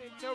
Mr.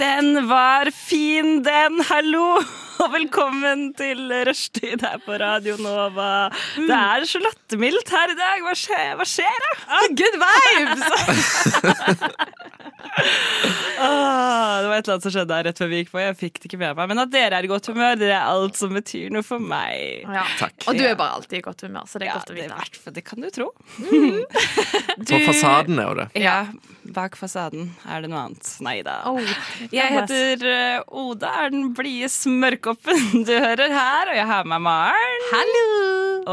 Den var fin, den! Hallo! Og velkommen til rushtid her på Radio Nova. Det er så lattermildt her i dag. Hva skjer, hva skjer da? Ah, good vibes! Ah, det var et eller annet som skjedde her rett før vi gikk på. Jeg fikk det ikke med meg. Men at dere er i godt humør, det er alt som betyr noe for meg. Ja. Og du er bare alltid i godt humør, så det er Ja, godt å det, er vite. hvert fall- det kan du tro. På fasaden er jo det. Ja, Eh, bak fasaden er det noe annet. Nei da. Oh, Jeg heter eh, Oda, er den blide smørkoppen du hører her, og jeg har med meg Maren. Hallo!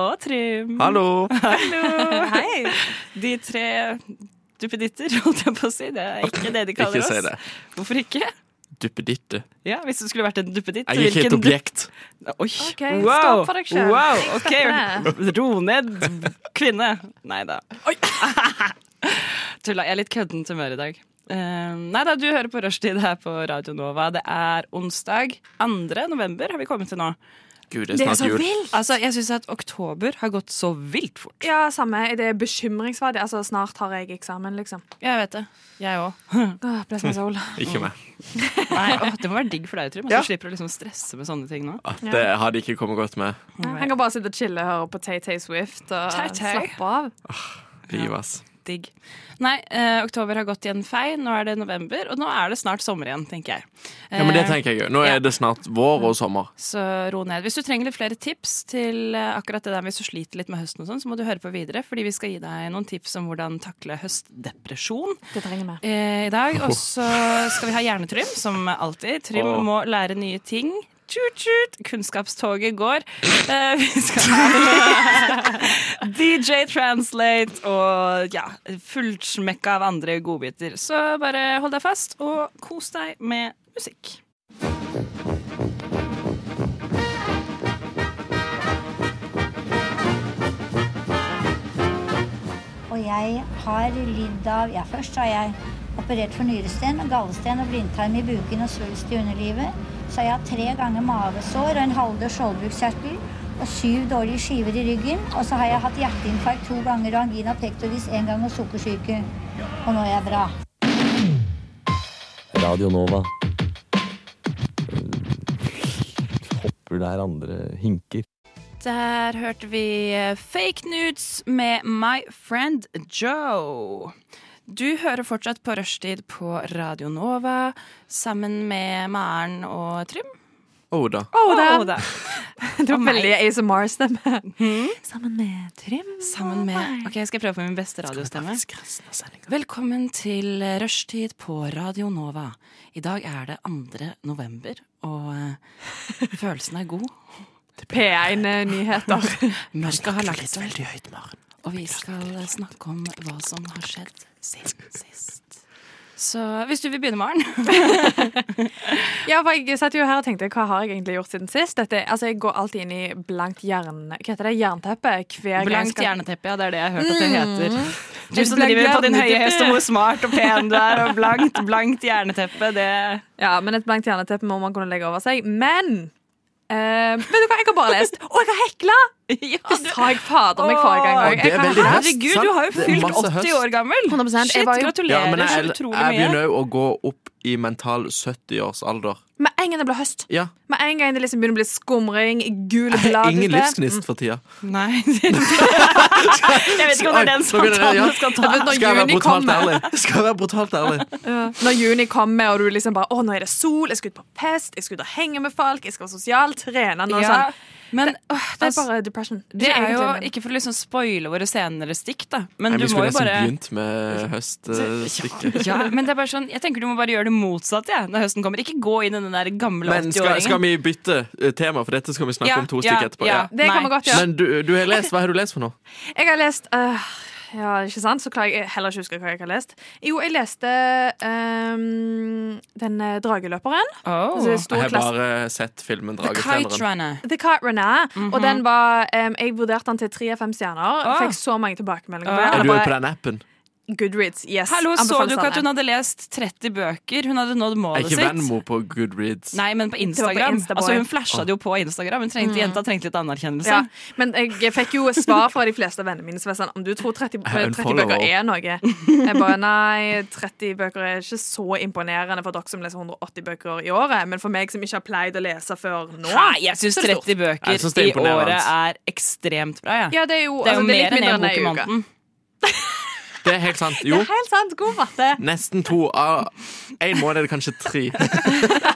Og Trym. Hallo! Hei. De tre duppeditter, holdt jeg på å si. Det er ikke det de kaller Ikke si det. oss. Hvorfor ikke? Duppeditte. Ja, Hvis du skulle vært en duppeditt, Jeg er ikke et hvilken dupp- objekt. Oi. OK, stå opp for deg selv. Wow, Jeg ok. støtter Ro ned, kvinne. Nei da. Tulla. Jeg er litt kødden til humør i dag. Uh, nei da, du hører på Rushtid her på Radio Nova. Det er onsdag 2. november har vi kommet til nå. Gud, det er snart jul. vilt! Altså, Jeg syns at oktober har gått så vilt fort. Ja, samme. Det er bekymringsverdig. Altså, snart har jeg eksamen, liksom. Jeg vet det. Jeg òg. Åh, bless my soul. Ikke meg. Det må være digg for deg, Trym. at Ja. Du slipper å liksom stresse med sånne ting nå. Det har de ikke kommet godt med. Han kan bare sitte og chille og høre på Tay-Tay Swift og Tay-Tay. slappe av. Livet, ass. Digg. Nei, eh, oktober har gått i en fei. Nå er det november, og nå er det snart sommer igjen, tenker jeg. Ja, men det Eh, tenker jeg jo. Nå er det snart vår og sommer. Så ro ned. Hvis du trenger litt flere tips til eh, akkurat det der hvis du sliter litt med høsten, og sånn, så må du høre på videre, fordi vi skal gi deg noen tips om hvordan takle høstdepresjon Det trenger vi. eh, i dag. Og så skal vi ha Hjernetrym, som alltid. Trym Åh. må lære nye ting. Tjut, tjut. Kunnskapstoget går. Eh, vi skal ha DJ Translate og ja, fullsmekka av andre godbiter. Så bare hold deg fast, og kos deg med musikk. Og jeg har lidd av Ja, først har jeg operert for nyresten, gallesten og blindtarm i buken og svulst i underlivet. Så har jeg hatt tre ganger mavesår og en halvdød skjoldbruskkjertel og syv dårlige skiver i ryggen. Og så har jeg hatt hjerteinfarkt to ganger og angina pectoris én gang og sukkersyke. Og nå er jeg bra. Radio Nova. Eh, Hopper der andre hinker. Der hørte vi eh, Fake Nudes med My Friend Joe. Du hører fortsatt på Rushtid på Radio Nova sammen med Maren og Trym. Oda. Og Oda! Oda. Det Og var meg. veldig ASMR-stemme. Sammen med Trym. Sammen med Ok, jeg skal prøve på min beste radiostemme. Velkommen til eh, Rushtid på Radio Nova. I dag er det 2. november, og eh, følelsen er god. P1-nyheter. Mørket har lagt seg. Veldig høyt, Maren. Og vi skal eh, snakke om hva som har skjedd siden sist. Så hvis du vil begynne, Maren. Ja, for jeg satt jo her og tenkte hva har jeg egentlig gjort siden sist? Dette, altså, jeg går alltid inn i blankt jern... Hva heter det? Jernteppe? Hver gang jeg Blankt skal- jerneteppe, ja, det er det jeg har hørt at det heter. Du Et som blankt driver på din høye jerneteppe. hest og hvor smart og pen du er, og blankt, blankt jerneteppe, det Ja, men et blankt jerneteppe må man kunne legge over seg. Men eh, Vet du hva, jeg har bare lest. Å, jeg har hekla! Det sa jeg fader meg forrige gang Åh, også. det er Jeg har- veldig høst. Herregud, du har jo Sant? Det er fylt masse 80 høst. år gammel. 100%, jeg Shit, var jo- Ja, gratulerer men jeg, så jeg utrolig mye. begynner jo å gå opp i mental 70-årsalder. Med en gang det blir høst. Ja. Med en gang det liksom begynner å bli skumring, gule blad Ingen ute. livsgnist for tida. Nei. Jeg vet ikke om Mm. det er Oi, den nå begynner jeg- ja. samtalen du skal ta. når Skal jeg være juni brutalt kommer. ærlig? Skal jeg være brutalt ærlig? Ja. Når juni kommer, og du liksom bare Å, nå er det sol, jeg skal ut på fest, jeg skal ut og henge med folk, jeg skal være sosial, trene nå, Ja, sånn. men åh, Det er bare depression. Altså, Det er jo egentlig- ikke for å liksom spoile våre senere stikk, da. Men Nei, du vi må jo skulle nesten bare begynt med høststykket. ja, men det er bare sånn, jeg tenker du må bare gjøre det motsatte ja, når høsten kommer. Ikke gå inn i den der gamle Men skal, 80-åringen. skal vi bytte eh, tema, for dette skal vi snakke om to stykker etterpå? Ja. Det Nei. kan vi godt gjøre. Men du, du har lest, hva har du lest for noe? Jeg har lest øh, Ja, ikke sant? Så klarer jeg heller ikke å huske hva jeg har lest. Jo, jeg leste ehm, den eh, drageløperen. Oh. Altså, det er stor Jeg har klasse- bare sett filmen The Kite Dragetenneren. Runner. The Kite Runner. Mhm. Og den var ehm, Jeg vurderte den til tre av fem stjerner. Ah. Fikk så mange tilbakemeldinger. Ah. Er på du den. jo Jeg på bare, den appen? Goodreads, yes. Hallo, så Anbefales du ikke at alle. hun hadde lest 30 bøker? Hun hadde nådd Er målet ikke sitt. Venmo på Goodreads? Nei, men på Det var på Instagram. Instaboy. Mm. altså, hun flasha det jo på Instagram. Hun trengte, Jenta trengte litt anerkjennelse. Ja, Sånn. men jeg fikk jo svar fra de fleste av vennene mine som var sånn Om du tror 30, En 30 bøker follower. er noe? Jeg bare nei, 30 bøker er ikke så imponerende for dere som leser 180 bøker i året, men for meg som ikke har pleid å lese før nå Nei, jeg syns Så det er 30 Jeg bøker synes det er i året imponerende. er ekstremt bra. jeg. Ja, det er jo, Det er jo altså, det mer er litt enn én bok i mindre enn ei uke. måneden. Det er helt sant. Det Jo, er helt sant. God matte. nesten to av Én måned er det kanskje tre.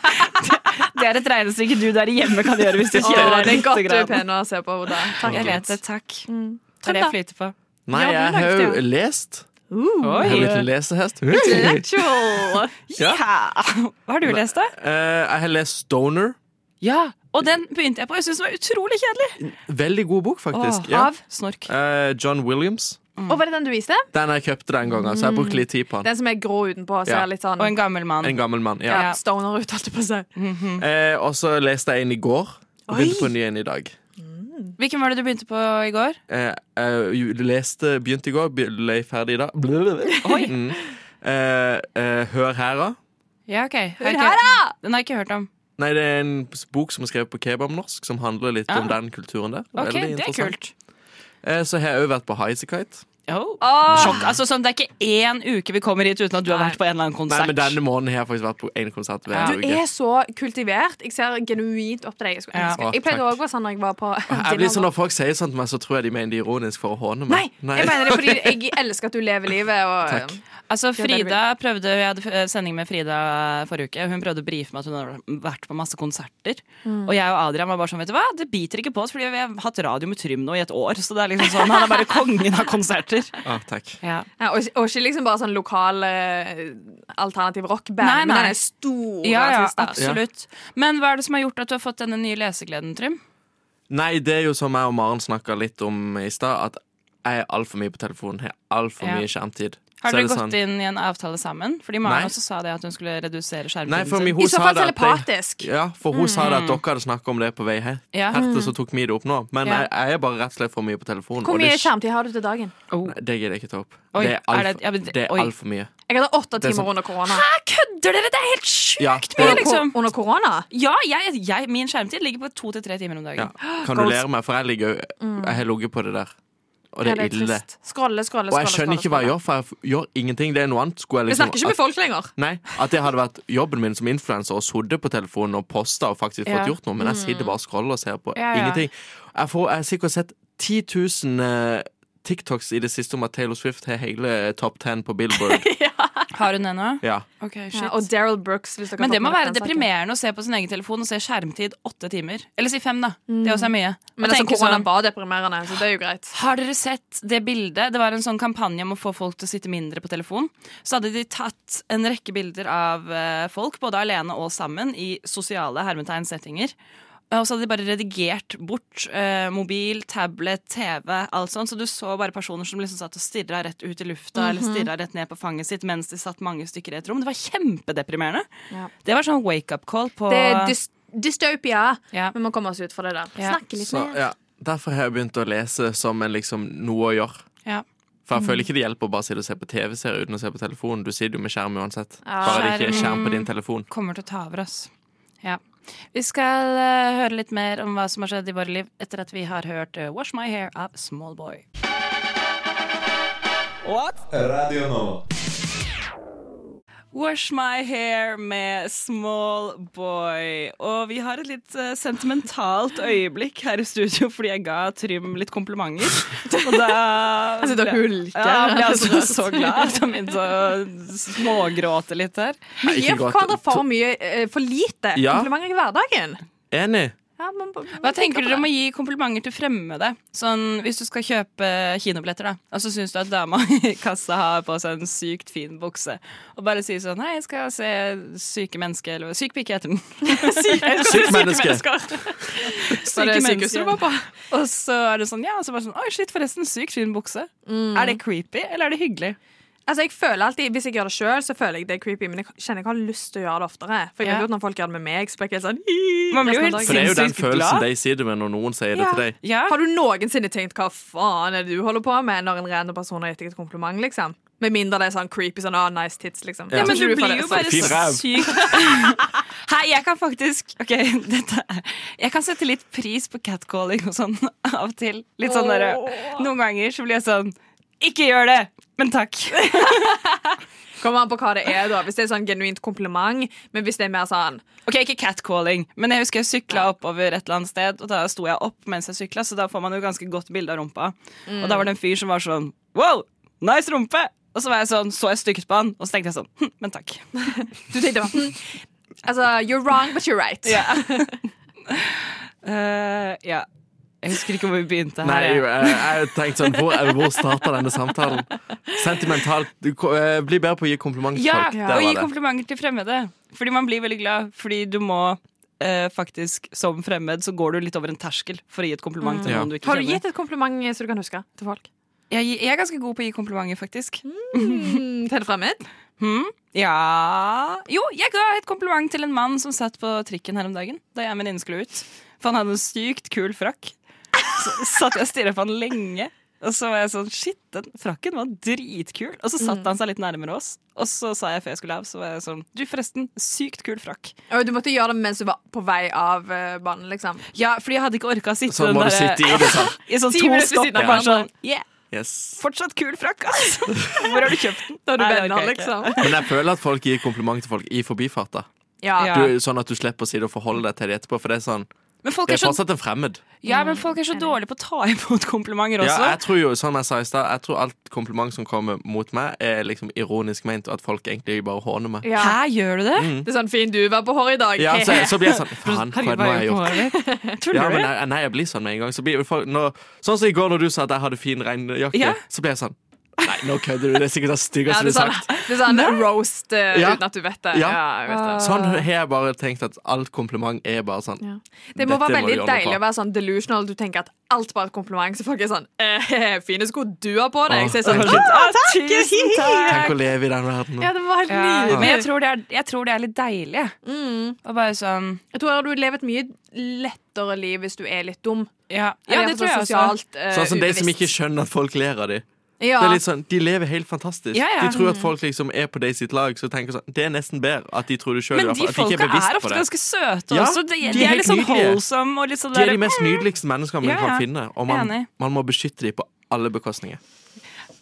Det er et regnestykke du der hjemme kan gjøre hvis du Å, kjeder det deg er litt. godt du er grann. pen å se på, Oda. Takk. Jeg vet det. Takk. Det Takk, er det da. jeg flyter på. Nei, Ja, jeg du har lagde jo jo. lest. Oi. Jeg har blitt en lesehest. Intellectual. Ja. Hva har du lest, da? Eh, Jeg har lest Stoner. Ja, Og den begynte jeg på. Jeg syns den var utrolig kjedelig. Veldig god bok, faktisk. Åh, Ja. Av Snork. Eh, John Williams. Og var det den du viste? Den jeg kjøpte den gangen, Mm. så jeg brukte litt tid på den. Den som er grå utenpå og Ja. ser litt sånn Og en gammel mann. En gammel mann, ja. ja, stoner ut, holdt jeg på å si. Eh, Og så leste jeg en i går. Og begynte på en ny en i dag. Hvilken var det du begynte på i går? Eh, eh, jo, leste, begynte i går, be- ble ferdig i dag. Oi. Mm. Eh, eh, Hør her, da. Ja, ok. Har Hør ikke- her, da! Den har jeg ikke hørt om. Nei, det er en bok som er skrevet på kebabnorsk, som handler litt Ah. om den kulturen der. Ok, Veldig det er interessant. kult. Eh, så har jeg òg vært på Highasakite. Oh. Åh, Sjokk. Altså, sånn, det er ikke én uke vi kommer hit uten at du har vært på en eller annen Nei, konsert. men denne måneden har jeg faktisk vært på én konsert hver Ja. du uke. er så kultivert. Jeg ser genuint opp til deg. Jeg, skulle Ja. ønske. Å, jeg pleide takk. også å være sånn når jeg var på Jeg blir sånn dinner. Når folk sier sånn til meg, så tror jeg de mener det ironisk for å håne Nei, meg. jeg mener det fordi jeg elsker at du lever livet. Og, Altså, er det du vil. Frida prøvde Jeg hadde eh, sending med Frida forrige uke. Hun prøvde å brife meg at hun hadde vært på masse konserter. Og jeg og Adrian var bare sånn, vet du hva, det biter ikke på oss, fordi vi har hatt radio med Trym nå i et år. Så det er liksom sånn, han er bare kongen av konserter. Ah, takk. Ja. ja, og, og ikke liksom bare sånn lokal eh, alternativ rockband, Nei, men nei. den er stor. Ja, ja, artister. absolutt. Men hva er det som har gjort at du har fått denne nye lesegleden, Trym? Nei, det er jo som jeg og Maren snakka litt om i stad, at jeg er altfor mye på telefonen. Har altfor Ja. mye skjermtid. Har Så er dere det sånn- gått inn i en avtale sammen? Fordi Maren Nei. også sa det at hun skulle redusere Nei, for skjermtiden mi, sin. hun I så sa fall det at jeg- telepatisk. Ja, for hun sa det at dere hadde snakka om det på vei her. Ja. Hertil så tok vi det opp nå. Men Ja. jeg, jeg er bare rett og slett for mye på telefonen. Hvor og det mye er ikke- skjermtid har du til dagen? Nei, Det gidder jeg ikke ta opp. Oi, det er er det- ja, men det- oi. altfor alt for mye. Jeg hadde åtte Det er sånn- sant. timer under korona. Kødder dere?! Det er helt sjukt! Ja, mye, og- Under, liksom. ko- under korona? Ja, jeg, jeg, min skjermtid ligger på to til tre timer om dagen. ja. Kan du lære meg, for jeg ligger jo Jeg har ligget på det der. Og det Ja, er ille. trist. Scrolle, Og scrolle, jeg scrolle, skjønner ikke scrolle, hva jeg gjør, for jeg f- gjør ingenting. Det er noe annet. Skulle jeg Vi liksom snakker ikke med at, folk lenger. Nei, at det hadde vært jobben min som influenser og sittet på telefonen og posta og faktisk Ja. fått gjort noe, men jeg sitter bare og scroller og ser på Ja, ja. ingenting. Jeg, får, jeg har sikkert sett 10 000 eh, TikToks i det siste om at Taylor Swift har hele topp 10 på Billboard. Har hun det nå? ja. Ok, shit. Ja, og Daryl Brooks. Hvis dere har Men det fått må med være dere den saken. deprimerende å se på sin egen telefon og se skjermtid åtte timer. Eller si fem, da. Det også er mye. Og Men altså, tenke korona sånn, var deprimerende, så det er jo greit. har dere sett det bildet? Det var en sånn kampanje om å få folk til å sitte mindre på telefon. Så hadde de tatt en rekke bilder av eh, folk, både alene og sammen, i sosiale hermetegn settinger. Eh, Og så hadde de bare redigert bort eh, mobil, tablet, TV, alt sånt. Så du så bare personer som liksom satt og stirra rett ut i lufta eller Mhm. stirra rett ned på fanget sitt mens de satt mange stykker i et rom. Det var kjempedeprimerende. Ja. Det var sånn wake-up call på Det er dys dystopia. Ja. Vi må komme oss ut fra det der. Ja. Snakke litt Så, mer. ja. Derfor har jeg begynt å lese som en liksom noe å gjøre. Ja. For jeg føler ikke det hjelper å bare sitte og se på TV-serier uten å se på telefonen. Du sitter jo med skjerm uansett. Ja. Bare det ikke er skjerm på din telefon. kommer til å ta over oss. Ja. Vi skal eh, høre litt mer om hva som har skjedd i våre liv etter at vi har hørt eh, Wash My Hair av Smallboy. Radio Nova. Wash My Hair med Smallboy. Og vi har et litt eh, sentimentalt øyeblikk her i studio fordi jeg ga Trym litt komplimenter. Og da Altså, dere hulker. Ja, han ble altså så glad at han begynte å smågråte litt her. Nei, Vi ikke gir godt. hverandre for mye, eh, for lite Ja. komplimenter i hverdagen. Enig. Ja, man, man, Hva tenker dere om å gi komplimenter til fremmede? Sånn, Hvis du skal kjøpe kinobilletter, da, og så syns du at dama i kassa har på seg en sykt fin bukse, og bare sier sånn 'Hei, jeg skal se Syke mennesker', eller 'Syk pike' heter den. Sykt menneske! Bare Syke mennesker var på. Og så er det sånn, ja, og så bare sånn Oi, shit, forresten, sykt fin bukse. Mm. Er det creepy, eller er det hyggelig? Altså, jeg føler alltid, Hvis jeg gjør det sjøl, så føler jeg det er creepy, men jeg kjenner jeg har lyst til å gjøre det oftere. For jeg Ja. har gjort når folk gjør det med meg, så blir jeg helt sånn Man blir jo resten av helt For det er jo den Sinnssykt følelsen glad. de sitter med når noen sier det til deg. Ja. Har du noensinne tenkt hva faen er det du holder på med når en random person har gitt deg et kompliment? liksom? Med mindre det er sånn creepy sånn, ah, nice tits, liksom. Ja, Ja, men Jeg tror du ikke blir jo får det. bare Fin ræv. syk Hei, jeg kan faktisk Ok, dette er Jeg kan sette litt pris på catcalling og sånn av og til. Litt sånn derre Noen ganger så blir jeg sånn Ikke gjør det, men takk. Kommer an på hva det er, da. Hvis det er sånn genuint kompliment, men hvis det er mer sånn Ok, ikke catcalling, men jeg husker jeg sykla oppover et eller annet sted, og da sto jeg opp mens jeg sykla, så da får man jo ganske godt bilde av rumpa. Mm. Og da var det en fyr som var sånn Wow, nice rumpe! Og så var jeg sånn, så jeg stygt på han, og så tenkte jeg sånn hm, Men takk. Du tenkte bare hm, Altså, you're wrong, but you're right. Eh, ja. Jeg husker ikke hvor vi begynte her. Nei, jeg. jeg, jeg tenkte sånn Hvor, hvor starta denne samtalen? Sentimentalt. Du, ko- eh, bli bedre på å gi komplimenter til Ja, folk. Der og gi var det. komplimenter til fremmede. Fordi man blir veldig glad. Fordi du må eh, faktisk, som fremmed, så går du litt over en terskel for å gi et kompliment til Mm. Ja. noen du ikke Har du kjenner. gitt et kompliment så du kan huske til folk? Jeg, gi- jeg er ganske god på å gi komplimenter, faktisk. Mm, til en fremmed? Ja Jo, jeg ga et kompliment til en mann som satt på trikken her om dagen. Da jeg og en venninne skulle ut. For han hadde en sykt kul frakk. Så satt jeg og stirra på han lenge. Og så var jeg sånn Shit, den frakken var dritkul. Og så satte han seg litt nærmere oss. Og så sa jeg før jeg skulle av, så var jeg sånn Du, forresten, sykt kul frakk. Og du måtte gjøre det mens du var på vei av eh, banen, liksom. Ja, fordi jeg hadde ikke orka å sitte Så må du sitte i det sånn. i sånn Ti to minutter ved stopp. siden av og bare hverandre. sånn, yeah, Yes. fortsatt kul frakk, ass! Hvor har du kjøpt den? Da er du Nei, det orker venner, jeg ikke. liksom. Men jeg føler at folk gir komplimenter til folk i forbifarta. Ja. Ja. Du, sånn at du slipper å si det og forholde deg til det etterpå. For det er sånn Men folk Det er er så, fortsatt en fremmed. ja, men folk er så dårlige på å ta imot komplimenter Ja, også. jeg tror jo, som jeg sa i stad, jeg tror alt kompliment som kommer mot meg, er liksom ironisk ment, og at folk egentlig bare håner meg. ja. Hæ, gjør du det? Mm, Det er sånn fin du var på håret i dag. Ja, så, så blir jeg sånn Faen, hva er det nå jeg har gjort? Tuller du? Ja, men jeg, nei, jeg blir sånn med en gang. Så blir, jo folk, når, sånn som i går når du sa at jeg hadde fin regnjakke, Ja. så ble jeg sånn Nei, nå kødder du. Det er sikkert det Ja, styggeste det du er har sånn, sagt. det er sånn roast eh, Ja. uten at du vet det. Ja. Ja. jeg vet det. Sånn har jeg bare tenkt at alt kompliment er bare sånn. Det Dette må være må du veldig gjøre noe deilig på. å være sånn delusional. Du tenker at alt bare er et kompliment, så folk er sånn eh, 'Fine sko du har på deg.' Så jeg er sånn, «Åh, Ah, tusen takk! Tenk å leve i den verden. ja, det var helt Ja, men nydelig. jeg tror det er, jeg tror det er litt deilig. Og bare sånn Jeg tror du lever et mye lettere liv hvis du er litt dum. Ja, ja det Eller iallfall tror jeg også. sosialt, eh, Sånn som de som ubevisst. ikke skjønner at folk ler av dem. ja. Det er litt sånn, De lever helt fantastisk. Ja, ja. De tror at folk liksom er på de sitt lag. Så tenker sånn, Det er nesten bedre at de tror det sjøl. Men de folka er ofte ganske søte Ja, også. De, de er de, er helt litt sånn nydelige. holdsomme og litt sånn De er der- de mest nydeligste menneskene man Ja, ja. kan finne, og man, Enig. man må beskytte dem på alle bekostninger.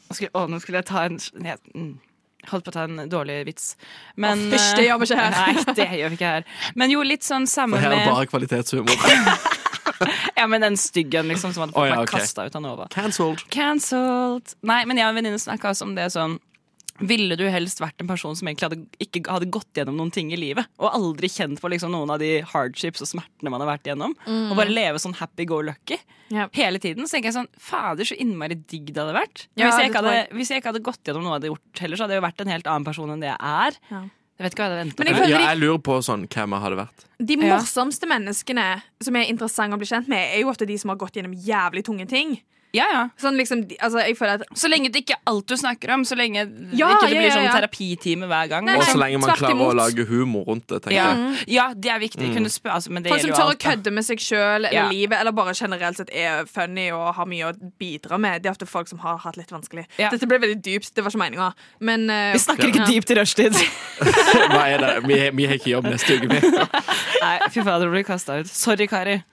Nå skulle, å, nå skulle jeg ta en jeg, mm, Holdt på å ta en dårlig vits. Men, eh, Å, fysj, det gjør vi ikke her. Nei, det gjør vi ikke her. Men jo, litt sånn samme For her er med bare kvalitetshumor. Ja, men den styggen liksom, som hadde fått Å, ja, meg ok. kasta ut av Nova. Cancelled. Cancelled! Nei, men jeg og en venninne snakka også om det sånn ville du helst vært en person som egentlig hadde, ikke hadde gått gjennom noen ting i livet? Og aldri kjent på liksom noen av de hardships og smertene man har vært gjennom? Mm. Og bare leve sånn happy go lucky Ja. hele tiden? Så tenker jeg sånn Fader, så innmari digg det hadde vært. Ja, hvis, jeg det ikke tror hadde, hvis jeg ikke hadde gått gjennom noe jeg hadde gjort heller, så hadde jeg jo vært en helt annen person enn det jeg er. Ja. Jeg vet ikke hva jeg hadde endt Men opp jeg med. Ja, føler jeg lurer på sånn hvem jeg hadde vært. de, de Ja. morsomste menneskene som er interessante å bli kjent med, er jo ofte de som har gått gjennom jævlig tunge ting. Ja, ja. Sånn liksom, de- altså, jeg føler at Så lenge det ikke er alt du snakker om, så lenge Ja, ikke det ja, blir ja, sånn ja. terapitime hver gang. Nei, Og og så sånn- lenge man tvert klarer å imot. lage humor rundt det, tenker ja. jeg. ja, det er viktig. Kunne spør, altså, men det Folk som gjelder jo tør å alt. da. kødde med seg sjøl eller Ja. livet, eller bare generelt sett er funny og har mye å bidra med. Det er ofte folk som har hatt litt vanskelig. Ja. Dette ble veldig dypt, det var ikke meninga. Men eh, Vi snakker ikke dypt i rushtid. Hva er det? Vi, vi har ikke jobb neste uke, vi. Nei, fy fader, du blir kasta ut. Sorry, Kari.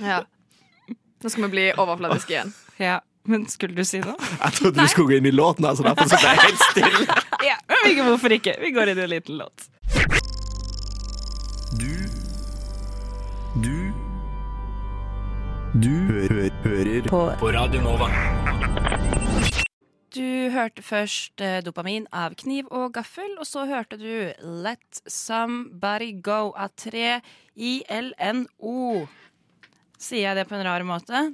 ja. Nå skal vi bli overfladiske igjen. Ja, men skulle du si noe? Jeg trodde du skulle gå inn i låten, altså. Derfor så ble jeg helt stille. Ja, men ikke, hvorfor ikke? Vi går inn i en liten låt. Du hørte først eh, dopamin av kniv og gaffel, og så hørte du Let Somebody Go av tre ILNO. Sier jeg det på en rar måte?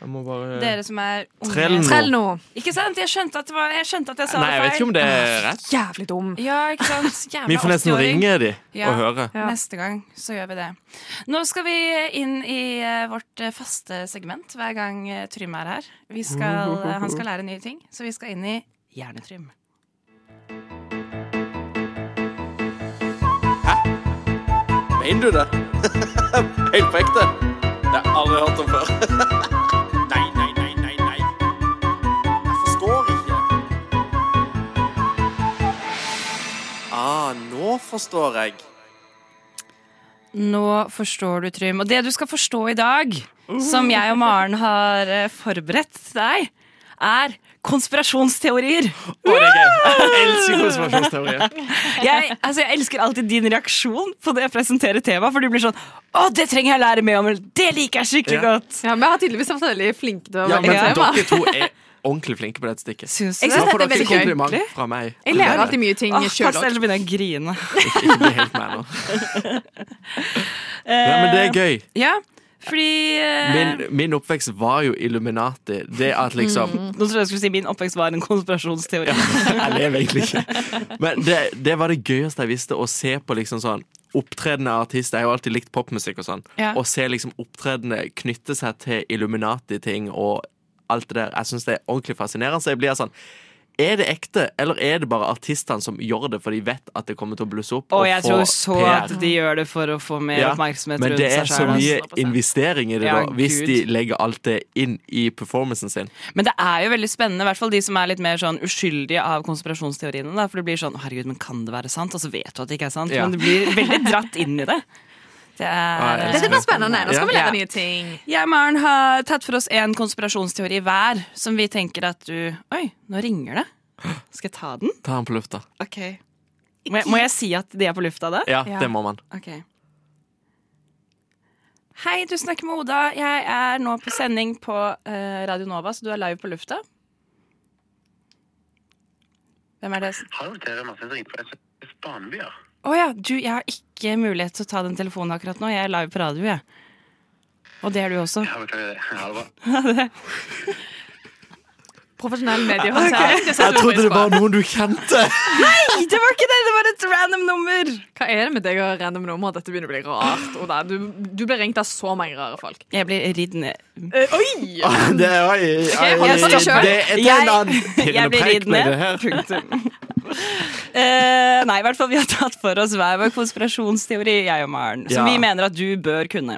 Jeg må bare Dere som er unge. Eh, Trell nå. Trell nå. Ikke sant? Jeg skjønte at, det var, jeg, skjønte at jeg sa Nei, jeg det vet ikke feil. om det er rett. Jævlig dum. Ja, ikke sant? Jævla Vi får nesten 80-åring. ringe de Ja. og høre. Ja. Neste gang så gjør vi det. Nå skal vi inn i eh, vårt eh, faste segment hver gang eh, Trym er her. Vi skal, eh, han skal lære nye ting, så vi skal inn i Hjernetrym. Mener du det? Helt på ekte? Det har jeg aldri hørt om før. Nei, nei, nei, nei, nei. Jeg forstår ikke. Ah, nå forstår jeg. Nå forstår du, Trym. Og det du skal forstå i dag, som jeg og Maren har eh, forberedt til deg, er konspirasjonsteorier. Å, det er gøy. Jeg elsker konspirasjonsteorier. Jeg, altså, jeg elsker alltid din reaksjon på det jeg presenterer temaet, for du blir sånn Å, det trenger jeg å lære mer om! eller Det liker jeg skikkelig Ja. godt! Ja, vi har tydeligvis vært veldig flinke til å Ja, men velge tema. dere to er ordentlig flinke på dette stikket. Syns Jeg du? Da synes det? får dette er dere veldig gøy. kompliment fra meg. Jeg lærer alltid mye ting Åh, sjøl pass, òg. ellers begynner jeg å grine. Ikke bli helt med nå. Nei, men det er gøy. Ja, fordi eh, Min, min oppvekst var jo Illuminati. Det at liksom Nå trodde jeg skulle si min oppvekst var en konspirasjonsteori. Jeg lever egentlig ikke. Men det, det var det gøyeste jeg visste, å se på liksom sånn opptredende artister. Jeg har jo alltid likt popmusikk og sånn. Ja. Å se liksom opptredende knytte seg til Illuminati-ting og alt det der. Jeg syns det er ordentlig fascinerende. Så jeg blir sånn Er det ekte, eller er det bare artistene som gjør det, for de vet at det kommer til å blusse opp? Og jeg få tror så PR? at de gjør det for å få mer Ja, oppmerksomhet Men rundt det er seg så selv, mye altså. investering i det, Ja, da, hvis Gud. de legger alt det inn i performancen sin. Men det er jo veldig spennende, i hvert fall de som er litt mer sånn uskyldige av konspirasjonsteoriene. Da, for det blir sånn 'Å, 'herregud, men kan det være sant?' Og så vet du at det ikke er sant, Ja. men du blir veldig dratt inn i det. Det er Nei, Dette blir spennende. Nå skal vi Ja. lære nye ting. Jeg og Maren har tatt for oss en konspirasjonsteori hver som vi tenker at du Oi, nå ringer det. Skal jeg ta den? Ta den på lufta. Ok. Må jeg, må jeg si at de er på lufta da? Ja, Ja. det må man. Ok. Hei, du snakker med Oda. Jeg er nå på sending på eh, Radio Nova, så du er live på lufta. Hvem er det? Hallo, det er Martin som ringer fra SS Banebyer. Å ja, du, jeg har ikke mulighet til å ta den telefonen akkurat nå. Jeg er live på radio, jeg. Og det er du også. Ja, beklager det. Ha det bra. Profesjonell mediehåndtering. Det setter Jeg vi trodde pris det på. var noen du kjente! Nei, det var ikke det! Det var et random nummer! Hva er det med deg og random nummer? Dette begynner å bli rart. Oda. Du, du blir ringt av så mange rare folk. Jeg blir ridd ned. oi! Det er, oi, oi, holder for meg selv. det er et Jeg- eller annet Jeg blir ridd pillepreik med det ned. her. Punktum. Eh, nei, i hvert fall vi har tatt for oss hver vår konspirasjonsteori, jeg og Maren. Som Ja. vi mener at du bør kunne.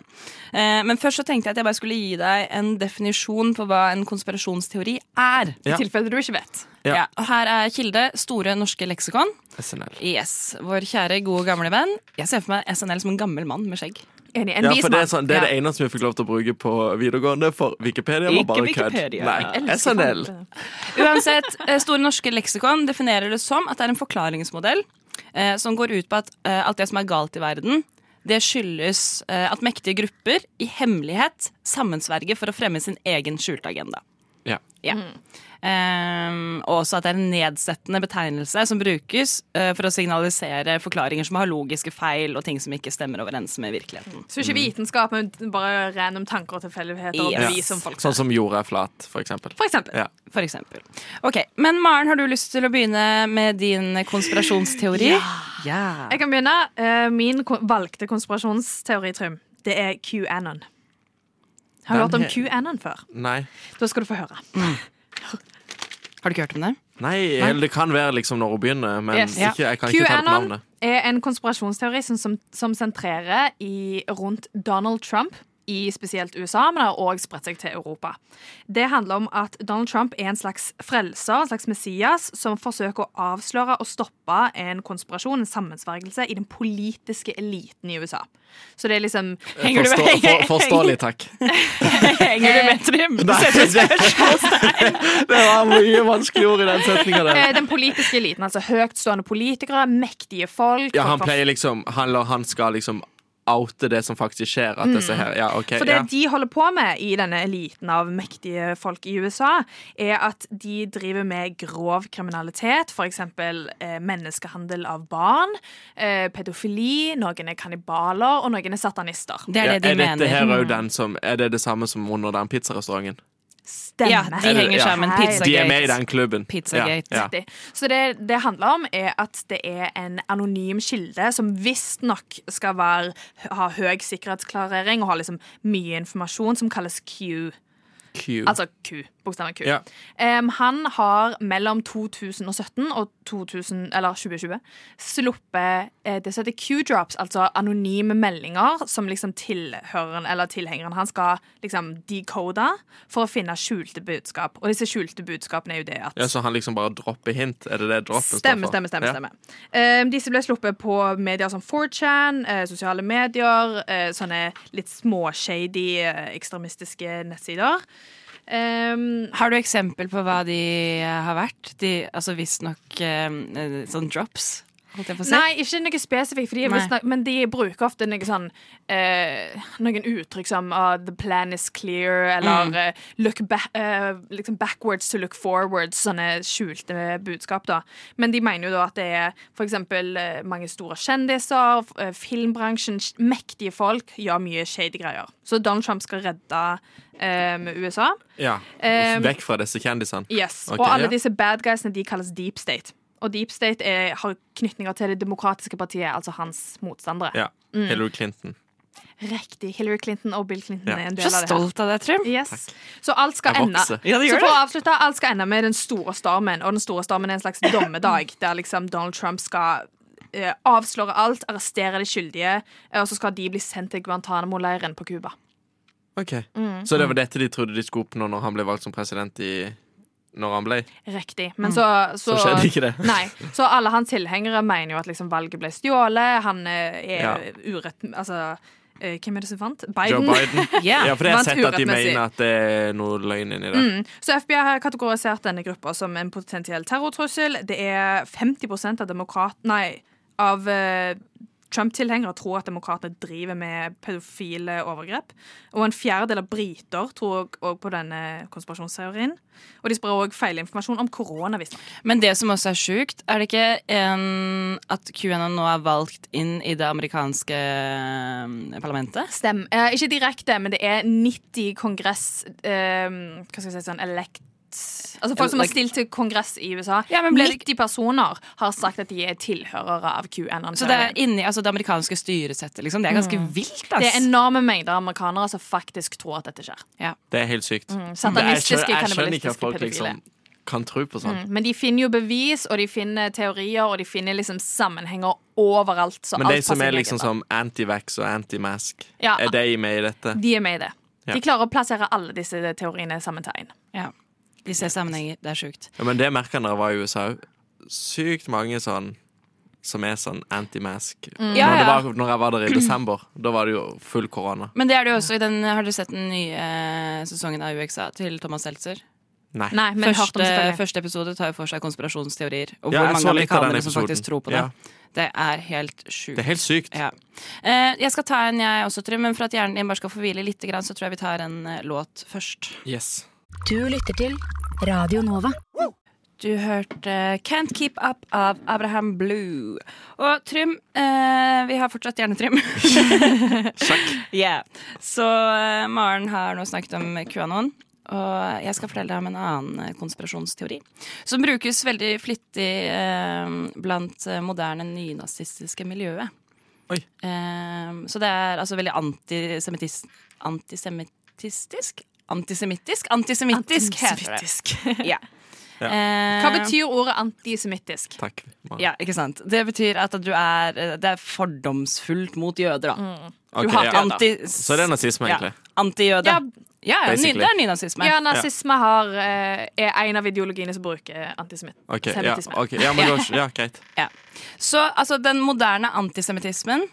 Eh, men først så tenkte jeg at jeg bare skulle gi deg en definisjon på hva en konspirasjonsteori er. Ja. I tilfelle du ikke vet. Ja. Ja, og her er kilde Store norske leksikon. SNL. Yes, Vår kjære, gode, gamle venn. Jeg ser for meg SNL som en gammel mann med skjegg. Enig. En Ja, vis for det er, mann. sånn, det er det eneste vi fikk lov til å bruke på videregående, for Wikipedia var Ikke bare kødd. Wikipedia. Jeg Nei, SNL. Uansett, eh, Store norske leksikon definerer det som at det er en forklaringsmodell eh, som går ut på at eh, alt det som er galt i verden, det skyldes eh, at mektige grupper i hemmelighet sammensverger for å fremme sin egen skjulte agenda. Ja. Ja. Eh, og også at det er en nedsettende betegnelse som brukes eh, for å signalisere forklaringer som har logiske feil og ting som ikke stemmer overens med virkeligheten. Så ikke Mm. vitenskap, men bare random tanker og tilfeldigheter og Yes. bevis om folk. Sånn som jorda er flat, for eksempel. For eksempel. Ja. For eksempel. Ok, Men Maren, har du lyst til å begynne med din konspirasjonsteori? ja. Jeg kan begynne. Eh, Min ko- valgte konspirasjonsteori, Trym, det er QAnon. Har Den du hørt om he- QAnon før? Nei. Da skal du få høre. Har du ikke hørt om det? Nei, eller det kan være liksom når hun begynner, men Yes. Ja. ikke, jeg kan ikke ta det på QAnon navnet. er en konspirasjonsteori som, som, som sentrerer i, rundt Donald Trump i spesielt USA, men har òg spredt seg til Europa. Det handler om at Donald Trump er en slags frelser, en slags Messias, som forsøker å avsløre og stoppe en konspirasjon, en sammensvergelse, i den politiske eliten i USA. Så det er liksom Eh, Forstå, for, forståelig, takk. Henger du med, Trym? Nei, det, det var mye vanskelige ord i den setninga der. Eh, Den politiske eliten, altså høytstående politikere, mektige folk. Ja, han folk fra pleier liksom Han, eller han skal liksom oute det som faktisk skjer. At disse her, ja, ok, For det ja. de holder på med i denne eliten av mektige folk i USA, er at de driver med grov kriminalitet, f.eks. Eh, menneskehandel av barn, eh, pedofili, noen er kannibaler, og noen er satanister. Det er Ja, det de er mener. dette her Mm. også den som, er det det samme som under den pizzarestauranten? Stemmer. Ja, de henger sammen, pizza- De er med i Pizzagate. den klubben. Pizzagate. Ja, ja. Riktig. Så det det handler om, er at det er en anonym kilde som visstnok skal være, ha høy sikkerhetsklarering og ha liksom mye informasjon, som kalles Q. Q. Altså Q. Bokstaven Q. Mm. Ja. Em, han har mellom 2017 og 2000, eller 2020 sluppet eh, det som heter Q-drops, altså anonyme meldinger som liksom tilhøreren eller tilhengeren han skal liksom decode for å finne skjulte budskap. Og disse skjulte budskapene er jo det at ja, så han liksom bare dropper hint? Er det det droppen står Stemme, for? stemme, stemme. Ja. stemme. Ehm, disse ble sluppet på medier som 4chan, eh, sosiale medier, eh, sånne litt småshady eh, ekstremistiske nettsider. Ehm, Har du eksempel på hva de eh, har vært? De, altså Visstnok eh, sånn drops, holdt jeg på å si. nei, ikke noe spesifikt, for de er Nei. visstnok- men de bruker ofte noe sånn, eh, noen uttrykk som ah, 'the plan is clear' eller eh, look ba eh, liksom 'backwards to look forwards', sånne skjulte budskap. da. Men de mener jo da at det er f.eks. mange store kjendiser, f- eh, filmbransjen, s- mektige folk gjør mye shady greier. Så Donald Trump skal redde eh, USA. Ja. Ehm, Vekk fra disse kjendisene. Yes, Ok, og alle ja. disse bad guysene de kalles deep state. Og deep state er, har knytninger til det demokratiske partiet, altså hans motstandere. Ja. Mm. Hillary Clinton. Riktig. Hillary Clinton og Bill Clinton Ja. er en Så del av det. her. stolt av deg, Trym. Yes. Så alt skal Jeg ende. vokser. Ja, det gjør Så for det. å avslutte, alt skal ende med den store stormen. Og den store stormen er en slags dommedag, der liksom Donald Trump skal eh, avsløre alt, arrestere de skyldige, eh, og så skal de bli sendt til Guantánamo-leiren på Cuba. Ok. Mm, Så det var dette de trodde de skulle oppnå når han ble valgt som president i Når han ble? Riktig. Men så, så, Mm. Så skjedde ikke det. Nei. Så alle hans tilhengere mener jo at liksom valget ble stjålet. Han eh, er Ja. urett... Altså, eh, hvem er det som vant? Joe Biden. Biden? Ja. Ja, for jeg har Vant sett at de urettmessig. mener at det er noe løgn inni Mm. det. Så FBI har kategorisert denne gruppa som en potensiell terrortrussel. Det er 50 av demokrat... Nei, av eh, Trump-tilhengere tror at demokrater driver med pedofile overgrep. Og en fjerdedel av briter tror òg på denne konspirasjonsteorien. Og de sprer òg feilinformasjon om korona, visstnok. Men det som også er sjukt, er det ikke en, at QAnon nå er valgt inn i det amerikanske eh, parlamentet? Stem. Eh, ikke direkte, men det er 90 kongress eh, Hva skal jeg si sånn elect Altså folk som har Elect- stilt til kongress i USA. Ja, men ble det- 90 personer har sagt at de er tilhørere av QAnon. Så det er inni altså det amerikanske styresettet, liksom. Det er ganske vilt, ass. Mm. Det er enorme mengder amerikanere som faktisk tror at dette skjer. Det er helt sykt. Mm. Satanistiske, jeg skjønner ikke kannibalistiske at folk pedofile. liksom kan tro på sånn. sånt. Men de finner jo bevis, og de finner teorier, og de finner liksom sammenhenger overalt. Så Men de alt som passer er ikke liksom lenger. som anti-vax og anti-mask, Ja. er de med i dette? Mm. De er med i det. Ja. De klarer å plassere alle disse teoriene sammen til én. Ja. De ser sammenhenger. Det er sjukt. Ja, men det merker jeg når jeg var i USA òg. Sykt mange sånn som er sånn anti-mask. Når, Mm. Ja, det ja. var- når jeg var der i desember, da var det jo full korona. Men det er det jo også i den Har dere sett den nye eh, sesongen av UXA til Thomas Seltzer? Nei. Nei, men hørt om Første, eh, selvfølgelig. første episode tar jo for seg konspirasjonsteorier. Og Ja, hvor jeg mange så litt av den amerikanere som episoden. faktisk tror på det. Ja. Det er helt sjukt. Det er helt sykt. Ja. Eh, jeg skal ta en, jeg også, Trym. Men for at hjernen din bare skal få hvile litt, grann, så tror jeg vi tar en eh, låt først. Yes. Du lytter til Radio Nova. Du hørte Can't Keep Up av Abraham Blue. Og Trym, eh, vi har fortsatt Hjernetrym. yeah. Så eh, Maren har nå snakket om QAnon. Og jeg skal fortelle deg om en annen eh, konspirasjonsteori. Som brukes veldig flittig eh, blant eh, moderne nynazistiske miljøet. Oi. Eh, så det er altså veldig antisemittis- antisemittistisk? Antisemittisk? Antisemittisk heter det. Ja. Ja. Eh, Hva betyr ordet antisemittisk? Takk. Maren. ja, ikke sant? Det betyr at du er, eh, det er fordomsfullt mot jøder, da. Mm. Ok, Du har ja. anti... Så det er nazisme, Ja. egentlig. Antijøde. Ja. Ja, ja, ny, Basically. det er nynazisme. Ja, nazisme har, eh, er en av ideologiene som bruker antisemitt. Ok, ja, Semitisme. ok. ja, men da, ja, greit. Så altså, den moderne antisemittismen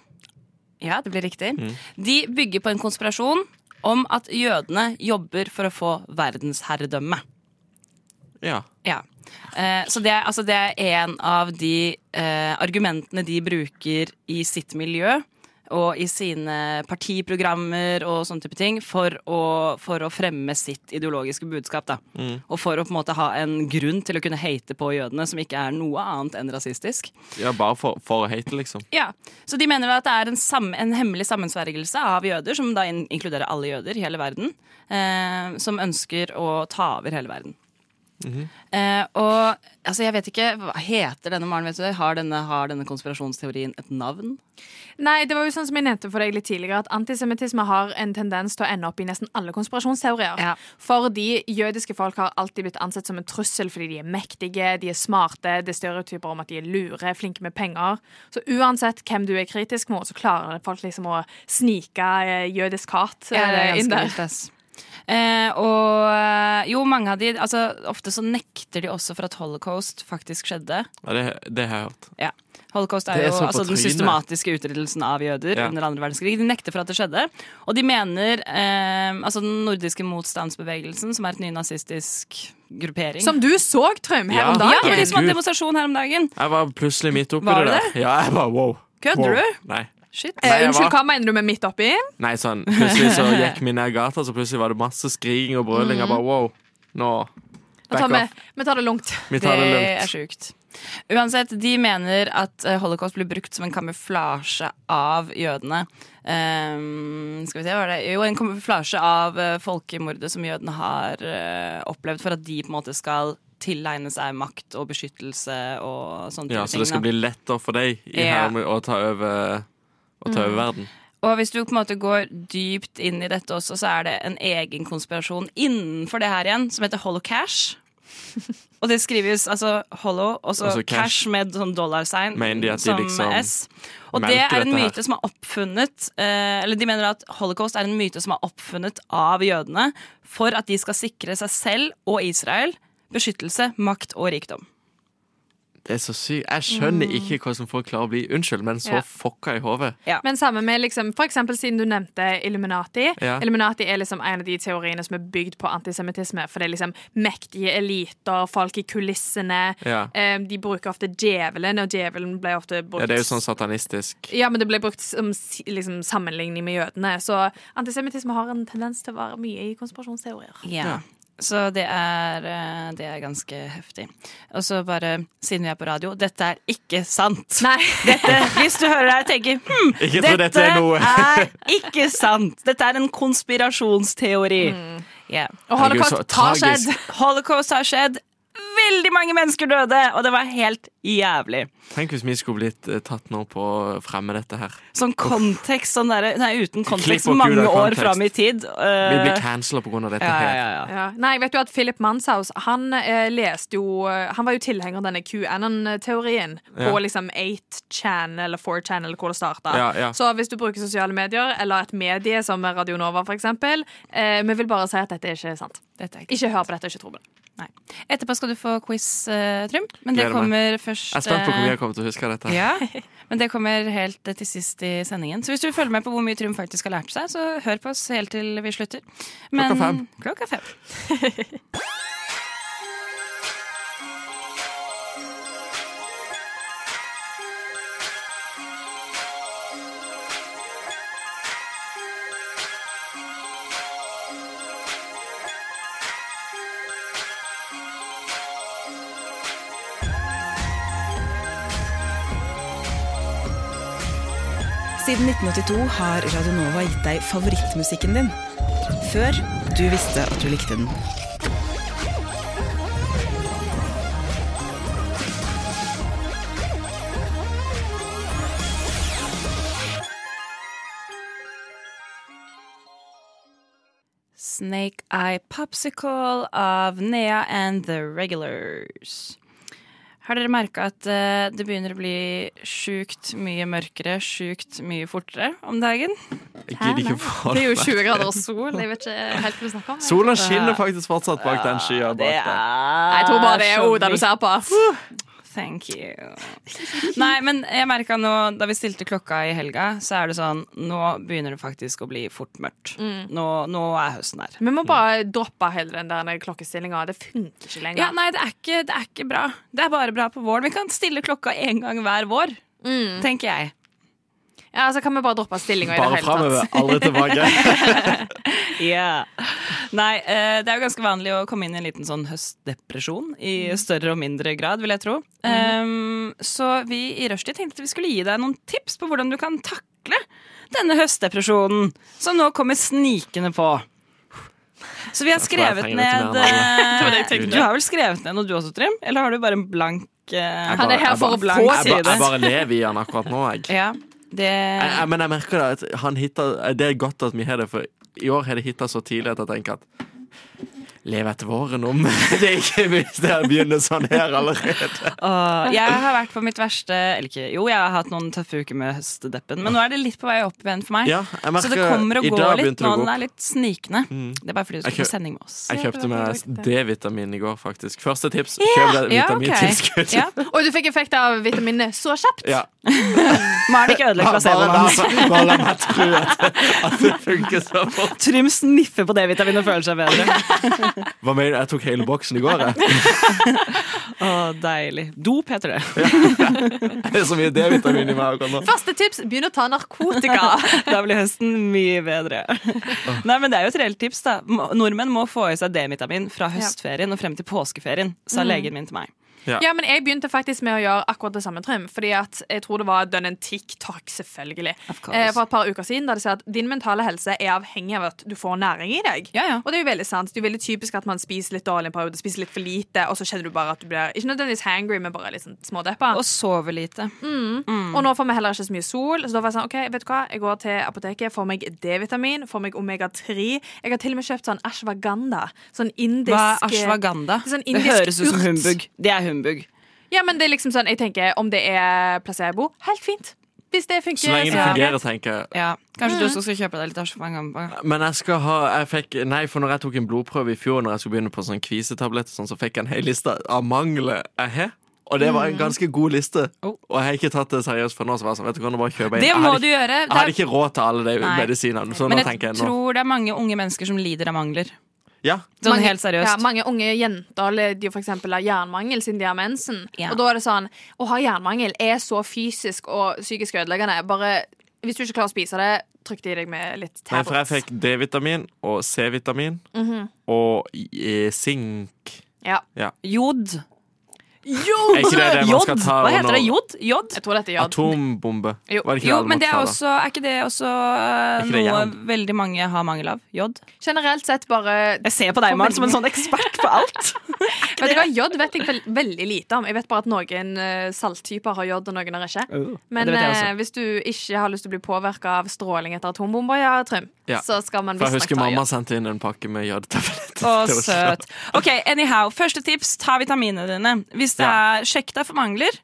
Ja, det blir riktig. Mm. De bygger på en konspirasjon om at jødene jobber for å få verdensherredømme. Ja. Ja. Eh, så det er, altså det er en av de eh, argumentene de bruker i sitt miljø og i sine partiprogrammer og sånne type ting for å, for å fremme sitt ideologiske budskap. Da. Og for å på en måte ha en grunn til å kunne hate på jødene som ikke er noe annet enn rasistisk. Ja, bare for, for å hate, liksom. Ja, Så de mener da at det er en, sam- en hemmelig sammensvergelse av jøder, som da in inkluderer alle jøder i hele verden, eh, som ønsker å ta over hele verden. eh, og altså, jeg vet ikke, hva heter denne Maren, vet du det? Har denne, har denne konspirasjonsteorien et navn? Nei, det var jo sånn som jeg nevnte for deg litt tidligere, at antisemittisme har en tendens til å ende opp i nesten alle konspirasjonsteorier. Ja. Fordi jødiske folk har alltid blitt ansett som en trussel fordi de er mektige, de er smarte, det er stereotyper om at de er lure, flinke med penger. Så uansett hvem du er kritisk mot, så klarer folk liksom å snike eh, jødisk hat Ja, det eh, er inn ganske der. vilt, ass. Eh, og eh, jo, mange av de altså, Ofte så nekter de også for at holocaust faktisk skjedde. Ja, det, det har jeg hørt. Ja. Holocaust er, Det er jo så på altså, den trynet. systematiske utryddelsen av jøder Ja. under andre verdenskrig. De nekter for at det skjedde. Og de mener eh, altså den nordiske motstandsbevegelsen, som er et nynazistisk gruppering Som du så, Trym, her Ja. om Ja, dagen. det var de som hadde Herregud. demonstrasjon her om dagen. Jeg var plutselig midt oppi Var det det der. Ja, jeg bare, wow. Kødder wow. du? Nei. Shit. Eh, Nei, jeg unnskyld, var- hva mener du med midt oppi? Nei, sånn. Plutselig så gikk vi ned gata, så plutselig var det masse skriking og brøling. Jeg bare, wow. Nå, Nå back tar vi, off. vi tar det langt. Vi Det tar det er lugnt. sjukt. Uansett, de mener at eh, holocaust blir brukt som en kamuflasje av jødene. Ehm, skal vi se, hva er det? Jo, en kamuflasje av eh, folkemordet som jødene har eh, opplevd, for at de på en måte skal tilegne seg makt og beskyttelse og sånne Ja, type så det ting, skal da. bli lettere for deg i Ja. her med å ta over, å ta over verden. Og hvis du på en måte går dypt inn i dette også, så er det en egen konspirasjon innenfor det her igjen, som heter Holocash. Og det skrives altså hollow, og så Altså cash, cash. med sånn dollarsign Mener de at de som liksom S. Og det melker er en dette her? myte som er oppfunnet eh, Eller de mener at holocaust er en myte som er oppfunnet av jødene for at de skal sikre seg selv og Israel beskyttelse, makt og rikdom. Det er så sykt. Jeg skjønner ikke hvordan folk klarer å bli Unnskyld, men så Ja. fucka i hodet. Men sammen med liksom, for eksempel siden du nevnte Illuminati. Ja. Illuminati er liksom en av de teoriene som er bygd på antisemittisme. For det er liksom mektige eliter, folk i kulissene. Ja. Eh, De bruker ofte djevelen, og djevelen ble ofte brukt Ja, det er jo sånn satanistisk. Ja, men det ble brukt som si- liksom, sammenligning med jødene. Så antisemittisme har en tendens til å være mye i konspirasjonsteorier. Ja. Så det er, eh, det er ganske heftig. Og så bare, siden vi er på radio, dette er ikke sant. Nei. Dette, hvis du hører det her og tenker hm, Ikke tro dette er noe. er ikke sant. Dette er en konspirasjonsteori. Mm. Ja. Og Herregud, så holocaust har tragisk. skjedd. Holocaust har skjedd. Veldig mange mennesker døde, og det var helt jævlig. Tenk hvis vi skulle blitt eh, tatt nå på å fremme dette her. Sånn kontekst, sånn derre- nei, uten kontekst, Klipp og kul mange av år kontekst. fram i tid. Vi eh, blir cancela pga. dette ja, her. ja, ja. Ja. Nei, vet du at Philip Manshaus han eh, leste jo eh, Han var jo tilhenger av denne QAnon-teorien på Ja. liksom 8chan eller 4chan eller hvor det starta. Ja, ja. Så hvis du bruker sosiale medier eller et medie som Radionova f.eks., eh, vi vil bare si at dette er ikke sant. Dette er ikke Ikke hør på dette, ikke tro på det. Nei. Etterpå skal du få quiz, eh, Trym. Men det Gleder meg. kommer først Jeg er spent på hvor mye eh, jeg kommer til å huske av dette. her. ja, men det kommer helt eh, til sist i sendingen. Så hvis du følger med på hvor mye Trym faktisk har lært seg, så hør på oss helt til vi slutter. Men- Klokka fem. Klokka fem. Siden 1982 har Radio Nova gitt deg favorittmusikken din. Før du visste at du likte den. Snake Eye Popsicle av Nea and The Regulars. Har dere merka at eh, det begynner å bli sjukt mye mørkere, sjukt mye fortere om dagen? Jeg gidder ikke få Det er jo det. 20 grader og sol. Jeg Oh, vet ikke helt hva du snakker om. jeg. Sola skinner faktisk fortsatt bak den skya bak der. Jeg tror bare det er så Oda du ser på. Thank you. Nei, men jeg merka nå, da vi stilte klokka i helga, så er det sånn Nå begynner det faktisk å bli fort mørkt. Nå, nå er høsten her. Vi må bare droppe hele den der klokkestillinga. Det funker ikke lenger. Ja, nei, det er, ikke, det er ikke bra. Mm. Det er bare bra på våren. Vi kan stille klokka én gang hver vår, tenker jeg. Ja, altså Kan vi bare droppe stillinga i det Bare hele framover, tatt? aldri tilbake. Ja. Nei, eh, det er jo ganske vanlig å komme inn i en liten sånn høstdepresjon i større og mindre grad, vil jeg tro. Ehm, så vi i Rushdie tenkte vi skulle gi deg noen tips på hvordan du kan takle denne høstdepresjonen som nå kommer snikende på. Så vi har tror jeg skrevet trenger litt ned mer enn eh, det. Du har vel skrevet ned noe du også, Trym? Eller har du bare en blank eh, Han er her for å blank få Jeg, ba, side? jeg bare lever i han akkurat nå, jeg. Ja, det jeg, jeg men jeg merker det at han hitta Det er godt at vi har det, for i år har det hitta så tidlig at jeg tenker at Leve etter våren om det er ikke hvis det her begynner sånn her allerede. Åh, jeg har vært på mitt verste Eller ikke, jo, jeg har hatt noen tøffe uker med høstdeppen, men nå er det litt på vei opp igjen for meg. Ja, jeg Så merker, det kommer og I går dag litt begynte nå. det å gå Den opp. er litt snikende. Det er bare fordi du Jeg skal kø- på sending med oss. Jeg kjøpte meg D-vitamin i går, faktisk. Første tips Ja, kjøp deg ja, ok. vitamintilskudd. Ja. Og du fikk effekt av vitaminene så kjapt? Ja. Maren ikke ødelegg placeboen la- hans. bare la meg tro at, at det funker så fort. Trym sniffer på D-vitamin og føler seg bedre. Hva mener du? Jeg tok hele boksen i går, jeg. Å, deilig. Dop heter det. Det er så mye D-vitamin i meg akkurat nå. Første tips begynn å ta narkotika. Da blir høsten mye bedre. Nei, men Det er jo et reelt tips. da Må- Nordmenn må få i seg D-vitamin fra høstferien og frem til påskeferien, sa legen min til meg. Ja, men jeg begynte faktisk med å gjøre akkurat det samme, Trym. Fordi at jeg tror det var done en TikTok, selvfølgelig. Of course. Eh, for et par uker siden, da de sa at din mentale helse er avhengig av at du får næring i deg. Ja, ja. Og det er jo veldig sant. Det er jo veldig typisk at man spiser litt dårlig en periode, spiser litt for lite, og så kjenner du bare at du blir ikke nødvendigvis hangry, men bare litt sånn smådeppa. Og sover lite. Mm. Og nå får vi heller ikke så mye sol, så da var jeg sånn, ok, vet du hva, jeg går til apoteket, får meg D-vitamin, får meg omega-3. Jeg har til og med kjøpt sånn ashwagandha, sånn indisk... Hva er ashwagandha? Det er sånn det indisk høres ut som urt. humbug. Det er humbug. Ja, men det er liksom sånn, jeg tenker, om det er placebo, helt fint. Hvis det funker, Så lenge det så- fungerer, tenker jeg. Ja. Kanskje du også skal kjøpe deg litt ashwagandha? Men jeg skal ha jeg fikk, Nei, for når jeg tok en blodprøve i fjor, Når jeg skulle begynne på sånn kvisetabletter, sånn, så fikk jeg en hel liste av mangler jeg har. Og det var en ganske god liste. Mm. Oh. Og jeg har ikke tatt det seriøst for nå. Så var jeg sånn, vet du, kan du bare kjøpe inn? Det Jeg må hadde du ikke- gjøre. Jeg hadde ikke råd til alle de Nei. medisinene. Så nå Men tenker jeg jeg nå tror det er mange unge mennesker som lider av mangler. Ja, Sånn mange, helt seriøst. Ja, mange unge jenter lider jo for eksempel av jernmangel siden de har mensen. Ja. Og da er det sånn, å ha jernmangel er så fysisk og psykisk ødeleggende. Bare, hvis du ikke klarer å spise det, trykk det i deg med litt Nei, for jeg tablets. fikk D-vitamin og C-vitamin Mhm. og eh, sink. Ja. Jod. Er ikke det det man skal Oh, Jod. ta Hva heter under det? Jod? Jod? Jeg tror dette gjør Atombombe. Jo. Var det ikke Jo, alle men måtte det er ta, da? også Er ikke det også eh, ikke det noe jern? veldig mange har mangel av? Jod? Generelt sett bare Jeg ser på deg, Maren, som en sånn ekspert på alt. Vet du hva, Jod vet jeg vel, veldig lite om. Jeg vet bare at noen eh, salttyper har jod, og noen har ikke. Men Oh, det vet jeg eh, også. hvis du ikke har lyst til å bli påvirka av stråling etter atombomber, ja, Trym, Ja. så skal man For jeg visstnok husker ta mamma jod. sendte inn en pakke med jodtabletter. Å, til oss. søt. Ok, anyhow, Første tips ta vitaminene dine. Hvis det Ja. er, Sjekk deg for mangler.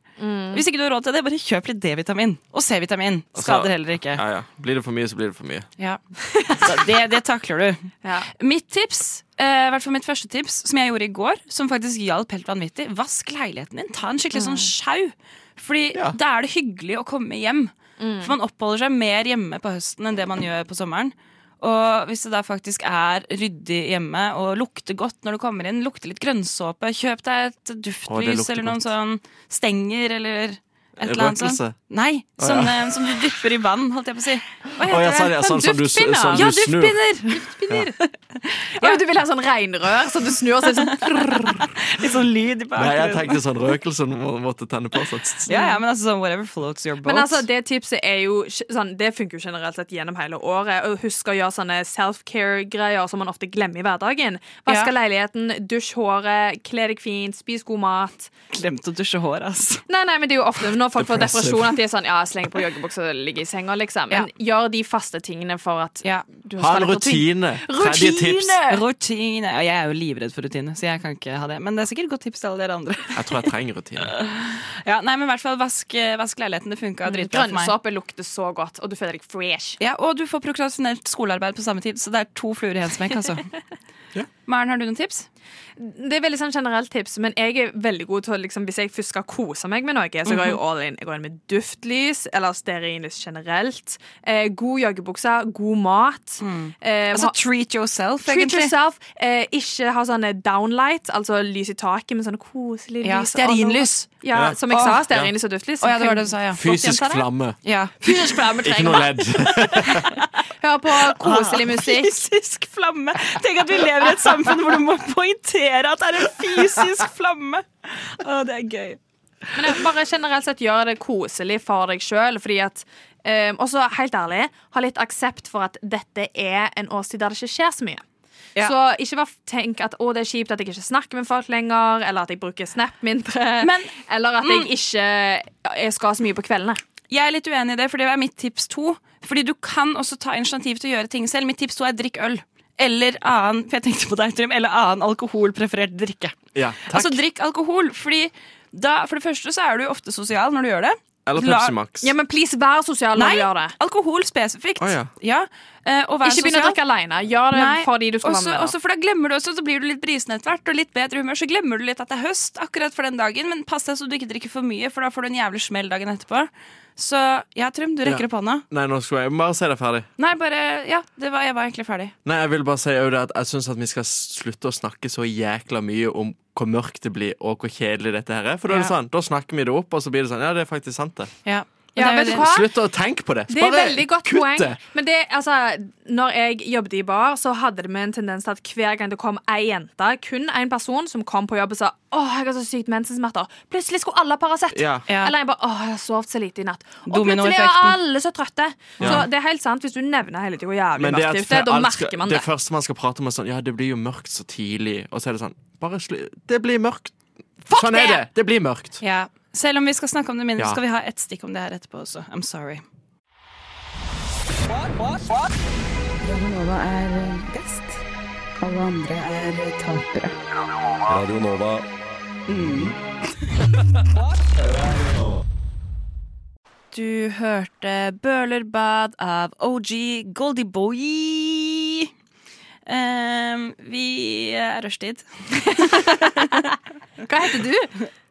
Hvis ikke du har råd til det, bare kjøp litt D-vitamin. Og C-vitamin. Skader heller ikke. Ja, ja. Blir det for mye, så blir det for mye. Ja. Så det, det takler du. Ja. Mitt tips, eh, i hvert fall mitt første tips, som jeg gjorde i går, som faktisk hjalp helt vanvittig, vask leiligheten din. Ta en skikkelig sånn sjau. Fordi Ja. da er det hyggelig å komme hjem. For man oppholder seg mer hjemme på høsten enn det man gjør på sommeren. Og hvis det da faktisk er ryddig hjemme og lukter godt når du kommer inn, lukter litt grønnsåpe, kjøp deg et Å, det duftlys lukter eller noen godt. sånn stenger eller et eller annet Røkelse? sånt. Nei, som, eh, som du dypper i vann, holdt jeg på å si. Hva Å, heter ja, sa de- det? sånn som du, s- duftpinner. sånn Ja, du snur. duftpinner! Ja, men du vil ha sånn regnrør, så du snur og så er det sånn Litt sånn lyd i Nei, jeg bakgrunnen. tenkte sånn røkelse når man måtte tenne på. Så. tss, tss. Ja, ja, men altså sånn whatever floats your boat. Men altså, det tipset er jo ikke- sånn, det funker jo generelt sett gjennom hele året. Og husk å gjøre sånne self-care-greier som man ofte glemmer i hverdagen. Vaske Ja. leiligheten, dusj håret, kle deg fint, spis god mat. Glemte å dusje håret, altså. Nei, nei, men det er jo ofte når folk får Depressive. depresjon at de er sånn, ja, sleng på joggebukse og ligge i senga, liksom. Men gjør de faste tingene for at Ja. du Ha skal en litt rutin. rutine. Tredje tips. Rutine. Ja, jeg er jo livredd for rutine, så jeg kan ikke ha det. Men det er sikkert godt tips til alle dere andre. Jeg tror jeg trenger rutine. Ja, nei, men i hvert fall vask, eh, vask leiligheten. Det funka dritbra for meg. Grønnsåpe lukter så godt, og du føler deg fresh. Ja, Og du får prokrastinert skolearbeid på samme tid, så det er to fluer i en smekk, altså. Maren, har du noen tips? Det er veldig sånn generelt tips, men jeg er veldig god til å liksom, Hvis jeg først skal kose meg med noe, så går jeg Mhm. all in. Jeg går inn med duftlys eller stearinlys generelt. Eh, god joggebukse, god mat. Eh, Altså ha- treat yourself, Treat egentlig. yourself. Eh, ikke ha sånne downlight, altså lys i taket, men sånne koselige Ja, lys. stearinlys. Ja, Ja. som jeg Åh, sa, ja. stearinlys og duftlys. Å ja, det var det du sa, ja. Flott Fysisk jente, det. flamme. ja. Fysisk flamme Ikke trenger noe man. ledd. Hør på Ah. koselig musikk. Fysisk flamme. Tenk at vi lever i et samfunn hvor du må poengtere at det er en fysisk flamme. Å, det er gøy. Men jeg- bare generelt sett gjør det koselig for deg sjøl, fordi at eh, også helt ærlig, ha litt aksept for at dette er en årstid der det ikke skjer så mye. Ja. Så ikke bare tenk at å, det er kjipt at jeg ikke snakker med folk lenger, eller at jeg bruker Snap mindre, Men- eller at jeg ikke jeg skal ha så mye på kveldene. Jeg er litt uenig i det, for det er mitt tips to. Fordi du kan også ta initiativ til å gjøre ting selv. Mitt tips to er drikk øl. Eller annen for jeg tenkte på deg, Trym, eller annen alkoholpreferert drikke. Ja, takk. Altså drikk alkohol, fordi da, for det første så er du jo ofte sosial når du gjør det. Eller la- Pepsi Max. Ja, men please, vær sosial når Nei, du gjør det. alkohol spesifikt. Å, ja. eh, og vær Ikke begynn å sosial. drikke alene. Gjør det Nei, fordi du skal også- være med. også for da glemmer du også, så blir du litt brisen etter hvert, og litt bedre humør, så glemmer du litt at det er høst akkurat for den dagen, men pass deg så du ikke drikker for mye, for da får du en jævlig smell dagen etterpå. Så ja, Trym, du rekker Ja. opp hånda. Nei, nå skulle jeg bare si det ferdig. Nei, bare, ja, det var, jeg var egentlig ferdig. Nei, Jeg vil bare si Aude, at jeg syns vi skal slutte å snakke så jækla mye om hvor mørkt det blir, og hvor kjedelig dette her er. For da er det Ja. sånn, da snakker vi det opp, og så blir det sånn. Ja, det er faktisk sant, det. Ja, Men det er Ja, jo vet du det- hva? Slutt å tenke på det. Det er Bare veldig godt kutt poeng. det. Men det, altså, når jeg jobbet i bar, så hadde det med en tendens til at hver gang det kom ei jente, kun én person, som kom på jobb og sa åh, jeg har så sykt mensensmerter, plutselig skulle alle ha Paracet. Ja. Ja. Eller jeg bare åh, jeg har sovet så lite i natt. Og plutselig er Dominoeffekten. alle så trøtte. Så det er helt sant, hvis du nevner hele tida hvor jævlig Men det, mørkt at det er ute, da alt skal- merker man det det. første man skal prate om, er sånn Ja, det blir jo mørkt så tidlig. Og så er det sånn Bare slutt. Det blir mørkt. sånn er det! Det blir mørkt. Ja. Selv om vi skal snakke om det mindre, Ja. skal vi ha ett stikk om det her etterpå også. I'm sorry. Radionova er best. Alle andre er tapere. Radio Nova. Du hørte Bølerbad av OG Goldie Boy. Ehm, vi er rushtid. Hva heter du?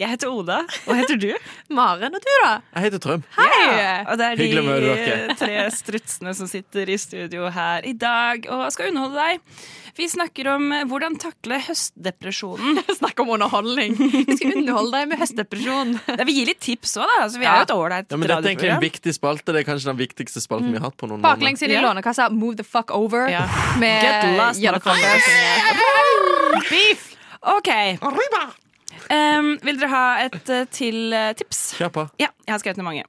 Jeg heter Oda. Hva heter du? Maren og du, da? Jeg heter Trym. Hei! Og det er Hyggelig å møte dere. de tre strutsene som sitter i studio her i dag og skal underholde deg. Vi snakker om eh, hvordan takle høstdepresjonen. Snakk om underholdning. Vi skal underholde deg med høstdepresjon. Nei, vi gir litt tips òg, da. Altså, vi er jo et ålreit Ja, men dette er egentlig en radioprogram. viktig spalte. Det er kanskje den viktigste spalten vi har hatt på noen Baklengs inn i Ja. lånekassa, move the fuck over. Ja. Med Get lost, motherfuckers. Beef! OK. Ehm, vil dere ha et eh, til eh, tips? Kjør på. Ja, jeg har skrevet ned mange.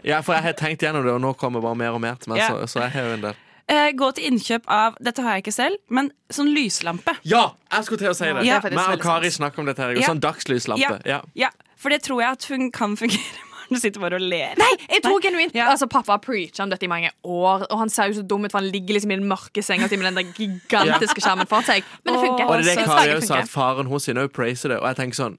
Ja, for jeg har tenkt gjennom det, og nå kommer bare mer og mer til meg. Ja. Så, så jeg har jo en del. Eh, gå til innkjøp av Dette har jeg ikke selv, men sånn lyslampe. Ja! Jeg skulle til å si det. Ja. Meg og Kari snakker om dette. her Ja. Sånn dagslyslampe. Ja. Ja, For det tror jeg at hun kan fungere. Du sitter bare og ler. Nei, jeg tror genuint Ja. Altså, Pappa har preacha om dette i mange år, og han ser jo så dum ut, for han ligger liksom i den mørke senga si med den der gigantiske skjermen foran seg. Men det funker. Og det er det Kari Jeg synes også det sa, at funker. faren hennes òg praiser det. Og jeg tenker sånn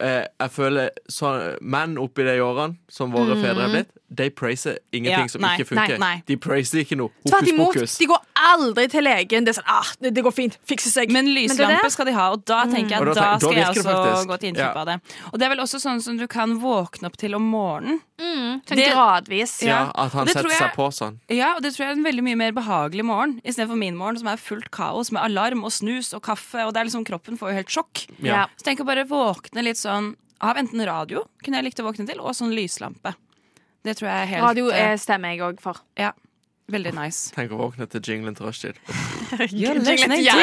eh, jeg føler sånn, Menn oppi de årene som våre fedre er blitt, de praiser ingenting Mm. Ja, som nei, ikke funker. nei, nei. De praiser ikke noe Tvert hokus imot. pokus. De går aldri til legen. Det er sånn ah, det- det går fint. Fikser seg. Men lyslampe det- Mm. skal de ha, og da tenker jeg Og da at da, tenk- da skal jeg virker det også faktisk. gå til innkjøp Ja. av det. Og det er vel også sånn som du kan våkne opp til om morgenen. Sånn det- gradvis. Ja, Ja, At og han det setter tror jeg- seg på sånn. Ja, og det tror jeg er en veldig mye mer behagelig morgen istedenfor min morgen, som er fullt kaos med alarm og snus og kaffe, og det er liksom kroppen får jo helt sjokk. Ja. Så tenk å bare våkne litt sånn av enten radio, kunne jeg likt å våkne til, og sånn lyslampe. Det tror jeg er helt Radio eh, eh, stemmer jeg òg for. Ja, veldig nice. Tenk å våkne til jinglen til rushtid. You're listening to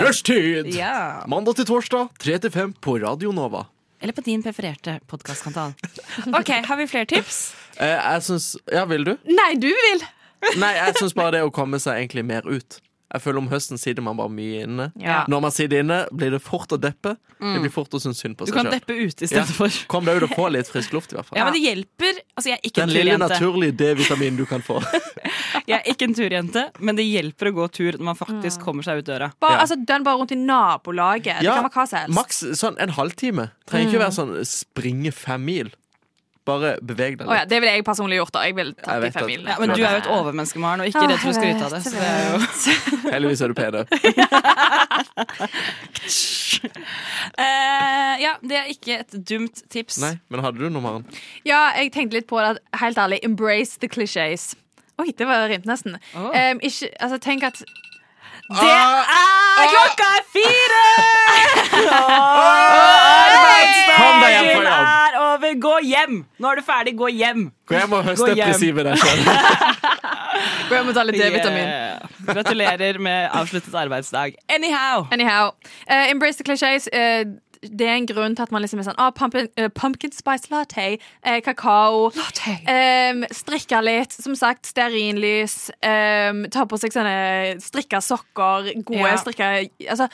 Rushtid! Ja. Mandag til torsdag, 3 til 5 på Radio Nova. Eller på din prefererte podkastkanal. Ok, har vi flere tips? Eh, jeg syns Ja, vil du? Nei, du vil! Nei, jeg syns bare det å komme seg egentlig mer ut. Jeg føler Om høsten sitter man bare mye inne. Ja. Mm. Når man sitter inne, blir det fort å deppe. Det blir fort å synes synd på Du seg kan selv deppe ute Ja. istedenfor. Ja. Kom deg ut og få litt frisk luft, i hvert fall. Ja, men det hjelper. Altså, jeg er ikke Den en lille turjente. naturlige D-vitaminen du kan få. Jeg er ikke en turjente, men det hjelper å gå tur når man faktisk kommer seg ut døra. Bare, Ja. altså, Dønn bare rundt i nabolaget. Det Ja, kan være hva som helst. Maks sånn en halvtime. Trenger ikke være sånn springe fem mil. Bare beveg deg Å ja, litt. det ville jeg personlig gjort. da Jeg ville tatt Jeg de vet fem at- milene. Ja, men du er jo et overmenneske, Maren, og ikke Åh, redd for å jeg skryte av det. vet, Så det er jo... Heldigvis er du pen. da. Eh, ja, det er ikke et dumt tips. Nei, men hadde du noe, Maren? Ja, jeg tenkte litt på det. at- Helt ærlig, embrace the clichés. Oi, det var rimt nesten. Em, ikke, altså, tenk at Det er klokka er fire! Kom deg hjem fra jobb! er over! Gå hjem! Nå er du ferdig, gå hjem! Gå hjem og høst Gå hjem. depressive deg sjøl. Går hjem og tar litt D-vitamin. Yeah. Gratulerer med avsluttet arbeidsdag. Anyhow. Anyhow, eh, embrace the clichés. eh, det er en grunn til at man liksom er sånn ah, pumpkin, eh, pumpkin spice latte, eh, kakao em, Strikke litt. Som sagt, stearinlys. em, ta på seg sånne strikka sokker. Gode Ja. strikka Altså,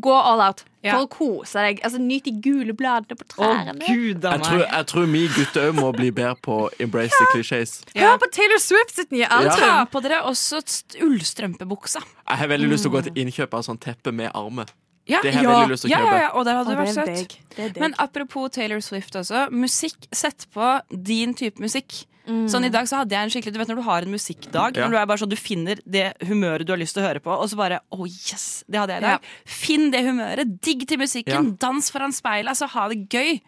gå all out Ja. for å kose deg. Altså, Nyt de gule bladene på Å, trærne. gud a Jeg tror, meg. jeg tror vi gutter òg må bli bedre på embrace the clichés. Hør på Taylor Swift sitt nye album! Ta på dere også st- ullstrømpebuksa. Jeg har veldig lyst til å gå til innkjøp av sånn teppe med armer. Ja, Det har jeg veldig lyst til å ja, kjøpe. ja, ja, og der hadde Å, du vært det er søt. digg. Det er digg. Men apropos Taylor Swift også. Musikk, sett på din type musikk. Sånn I dag så hadde jeg en skikkelig Du vet når du har en musikkdag, Ja. Når du er bare sånn, du finner det humøret du har lyst til å høre på, og så bare Å, yes! Det hadde jeg i Ja. dag. Finn det humøret, digg til musikken, dans foran speilet, altså ha det gøy.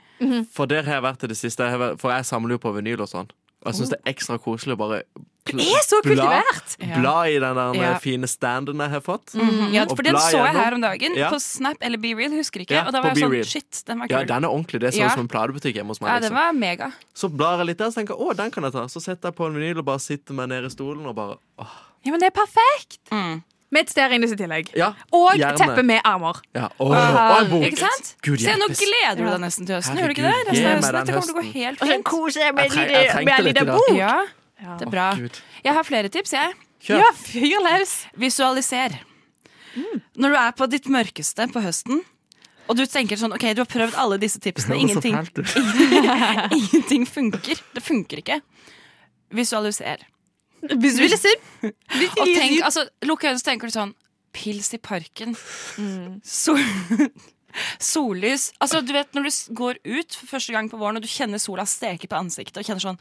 For der har jeg vært i det siste. Jeg har vært- For jeg samler jo på vinyl og sånn. Og jeg syns det er ekstra koselig å bare Du er så kultivert! Bla i den der eh, Ja. fine standen jeg har fått. Ja, Og for den bla så jeg gjennom. her om dagen Ja. på Snap eller Be Real, husker ikke. Ja, og da på var Be jeg sånn, Real. shit, den var kul. Ja, den er ordentlig. Det ser Ja. ut som en platebutikk hjemme hos meg. ja, liksom. den var mega. Så blar jeg litt der og tenker jeg, å, den kan jeg ta. Så setter jeg på en vinyl og bare sitter meg ned i stolen og bare åh. Ja, men det er perfekt! Mm. Med et stearinlys i tillegg. Ja, Og gjerne. teppe med armer. Ja, åh, og en bok. Ikke sant? Gud Se, nå hjelpes. gleder du deg nesten til høsten, gjør du ikke det? Herregud, Resten gi av meg høsten, den Dette kommer til å gå helt Og så fint. koser jeg meg Jeg treng- jeg trengte litt i dag. Ja, det er bra. Gud. Jeg har flere tips, jeg. Kjør. Ja, fyr løs! Mm. Visualiser. Når du er på ditt mørkeste på høsten, og du tenker sånn OK, du har prøvd alle disse tipsene, Høres så ingenting, fælt ut. ingenting funker. Det funker ikke. Visualiser. Visualiser. Og tenk, altså, lukk øynene, så tenker du sånn Pils i parken. Mm. Sol Sollys. Altså, du vet når du s- går ut for første gang på våren, og du kjenner sola steke på ansiktet, og kjenner sånn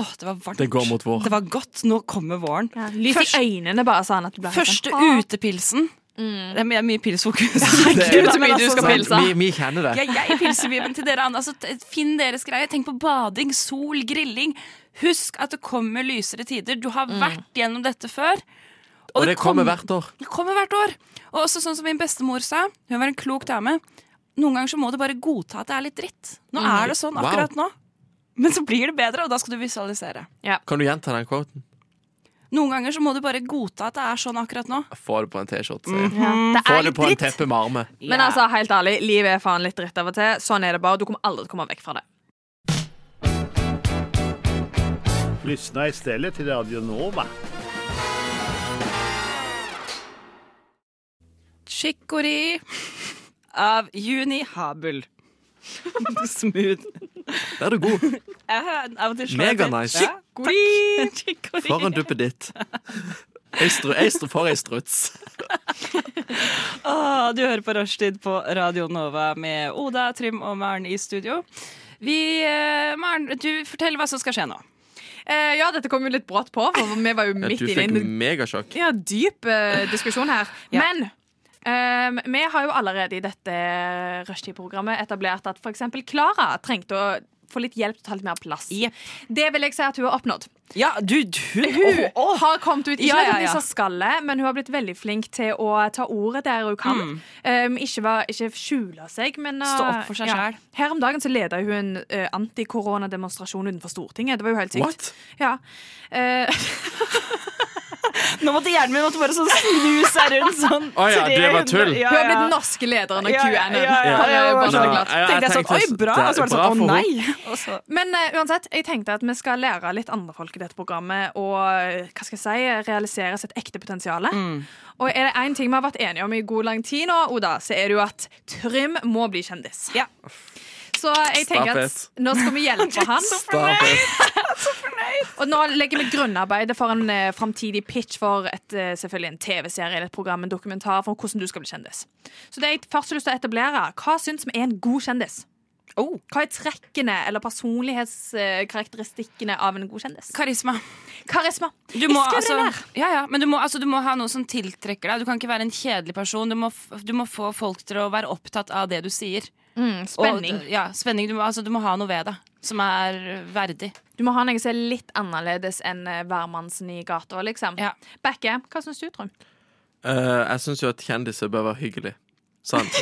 Åh, det var varmt. Det går mot vår. Det var godt. Nå kommer våren. Lys Først- i øynene, bare sånn at du blir helt Første sånn, «Å, utepilsen. Det er mye, mye pilsfokus. Det er- så mye du skal Sant, pilse. Vi, vi kjenner det. altså, Ja, jeg pilser mye, men til dere andre. Altså, t- finn deres greie. Tenk på bading, sol, grilling. Husk at det kommer lysere tider. Du har vært gjennom dette før. Og det kommer kom- hvert år. Det kommer hvert år. Og også sånn som min bestemor sa, hun var en klok dame. Noen ganger så må du bare godta at det er litt dritt. Nå er det sånn Wow. akkurat nå. Men så blir det bedre, og da skal du visualisere. Kan du gjenta den quoten? Noen ganger så må du bare godta at det er sånn akkurat nå. Få det på en T-skjorte. sier jeg. Mm. Det Få er det litt på en dritt. teppe med arme. Men altså, helt ærlig, livet er faen litt dritt av og til. Sånn er det bare. Du kommer aldri til å komme vekk fra det. Lyssna istället till Radio Nova. Chicory av Juni Habel. Smooth. Der er du god. Av og til slår jeg til. Meganice. Ja, takk. Chicory. For en duppeditt. Jeg stru- jeg stru- For ei struts. Åh, du hører på Rushtid på Radio Nova med Oda, Trym og Maren i studio. Vi, eh, Maren, du fortell hva som skal skje nå. Eh, ja, dette kom jo litt brått på, for vi var jo Ja, midt Du inne i fikk en megasjokk. ja, dyp eh, diskusjon her. Men ehm, vi har jo allerede i dette eh, rushtid-programmet etablert at f.eks. Klara trengte å få litt hjelp til å ta litt mer plass. Jepp. Det vil jeg si at hun har oppnådd. Ja, du, hun Hun har kommet ut, ikke Ja, ja, ja. nødvendigvis av skallet, men hun har blitt veldig flink til å ta ordet der hun kan. Mm. Um, ikke, var, ikke skjule seg, men uh, Stå opp for seg selv. Her om dagen så leda hun en uh, antikoronademonstrasjon utenfor Stortinget. Det var jo helt sykt. What? Ja. Uh, Nå måtte hjernen min måtte bare sånn snu seg rundt sånn. Å ja, det var 300. tull. Ja, hun har ja. blitt den norske lederen av Ja, ja, QAnon. ja, ja, Bare- ja, bare så Nei, det er nei, klart. jeg Tenkte jeg sånn, tenkte oi, så- bra. det er Og så var det bra sånn, å for hun. nei. Og så, Men eh, uansett, jeg tenkte at vi skal lære litt andre folk i dette programmet og eh, hva skal jeg si, realisere sitt ekte potensial. Og er det én ting vi har vært enige om i god lang tid nå, Oda, så er det jo at Trym må bli kjendis. Ja. Så jeg tenker at Stappet. nå skal vi hjelpe han. Starfest. Og nå legger vi grunnarbeidet for en eh, framtidig pitch for et, eh, selvfølgelig en TV-serie eller et program, en dokumentar for hvordan du skal bli kjendis. Så det jeg først har lyst til å etablere, hva syns vi er en god kjendis? Oh, Hva er trekkene eller personlighetskarakteristikkene av en god kjendis? karisma. Karisma. Du må, Jeg altså, skrev det ja, ja, men du må, altså, du må ha noe som tiltrekker deg. Du kan ikke være en kjedelig person. Du må, f- du må få folk til å være opptatt av det du sier. Mm, spenning. Og, ja, spenning. Du må, altså, du må ha noe ved det som er verdig. Du må ha noe som er litt annerledes enn eh, hvermannsen i gata, liksom. Ja. Bekke, hva syns du, Trym? Eh, jeg syns jo at kjendiser bør være hyggelig. Sånn.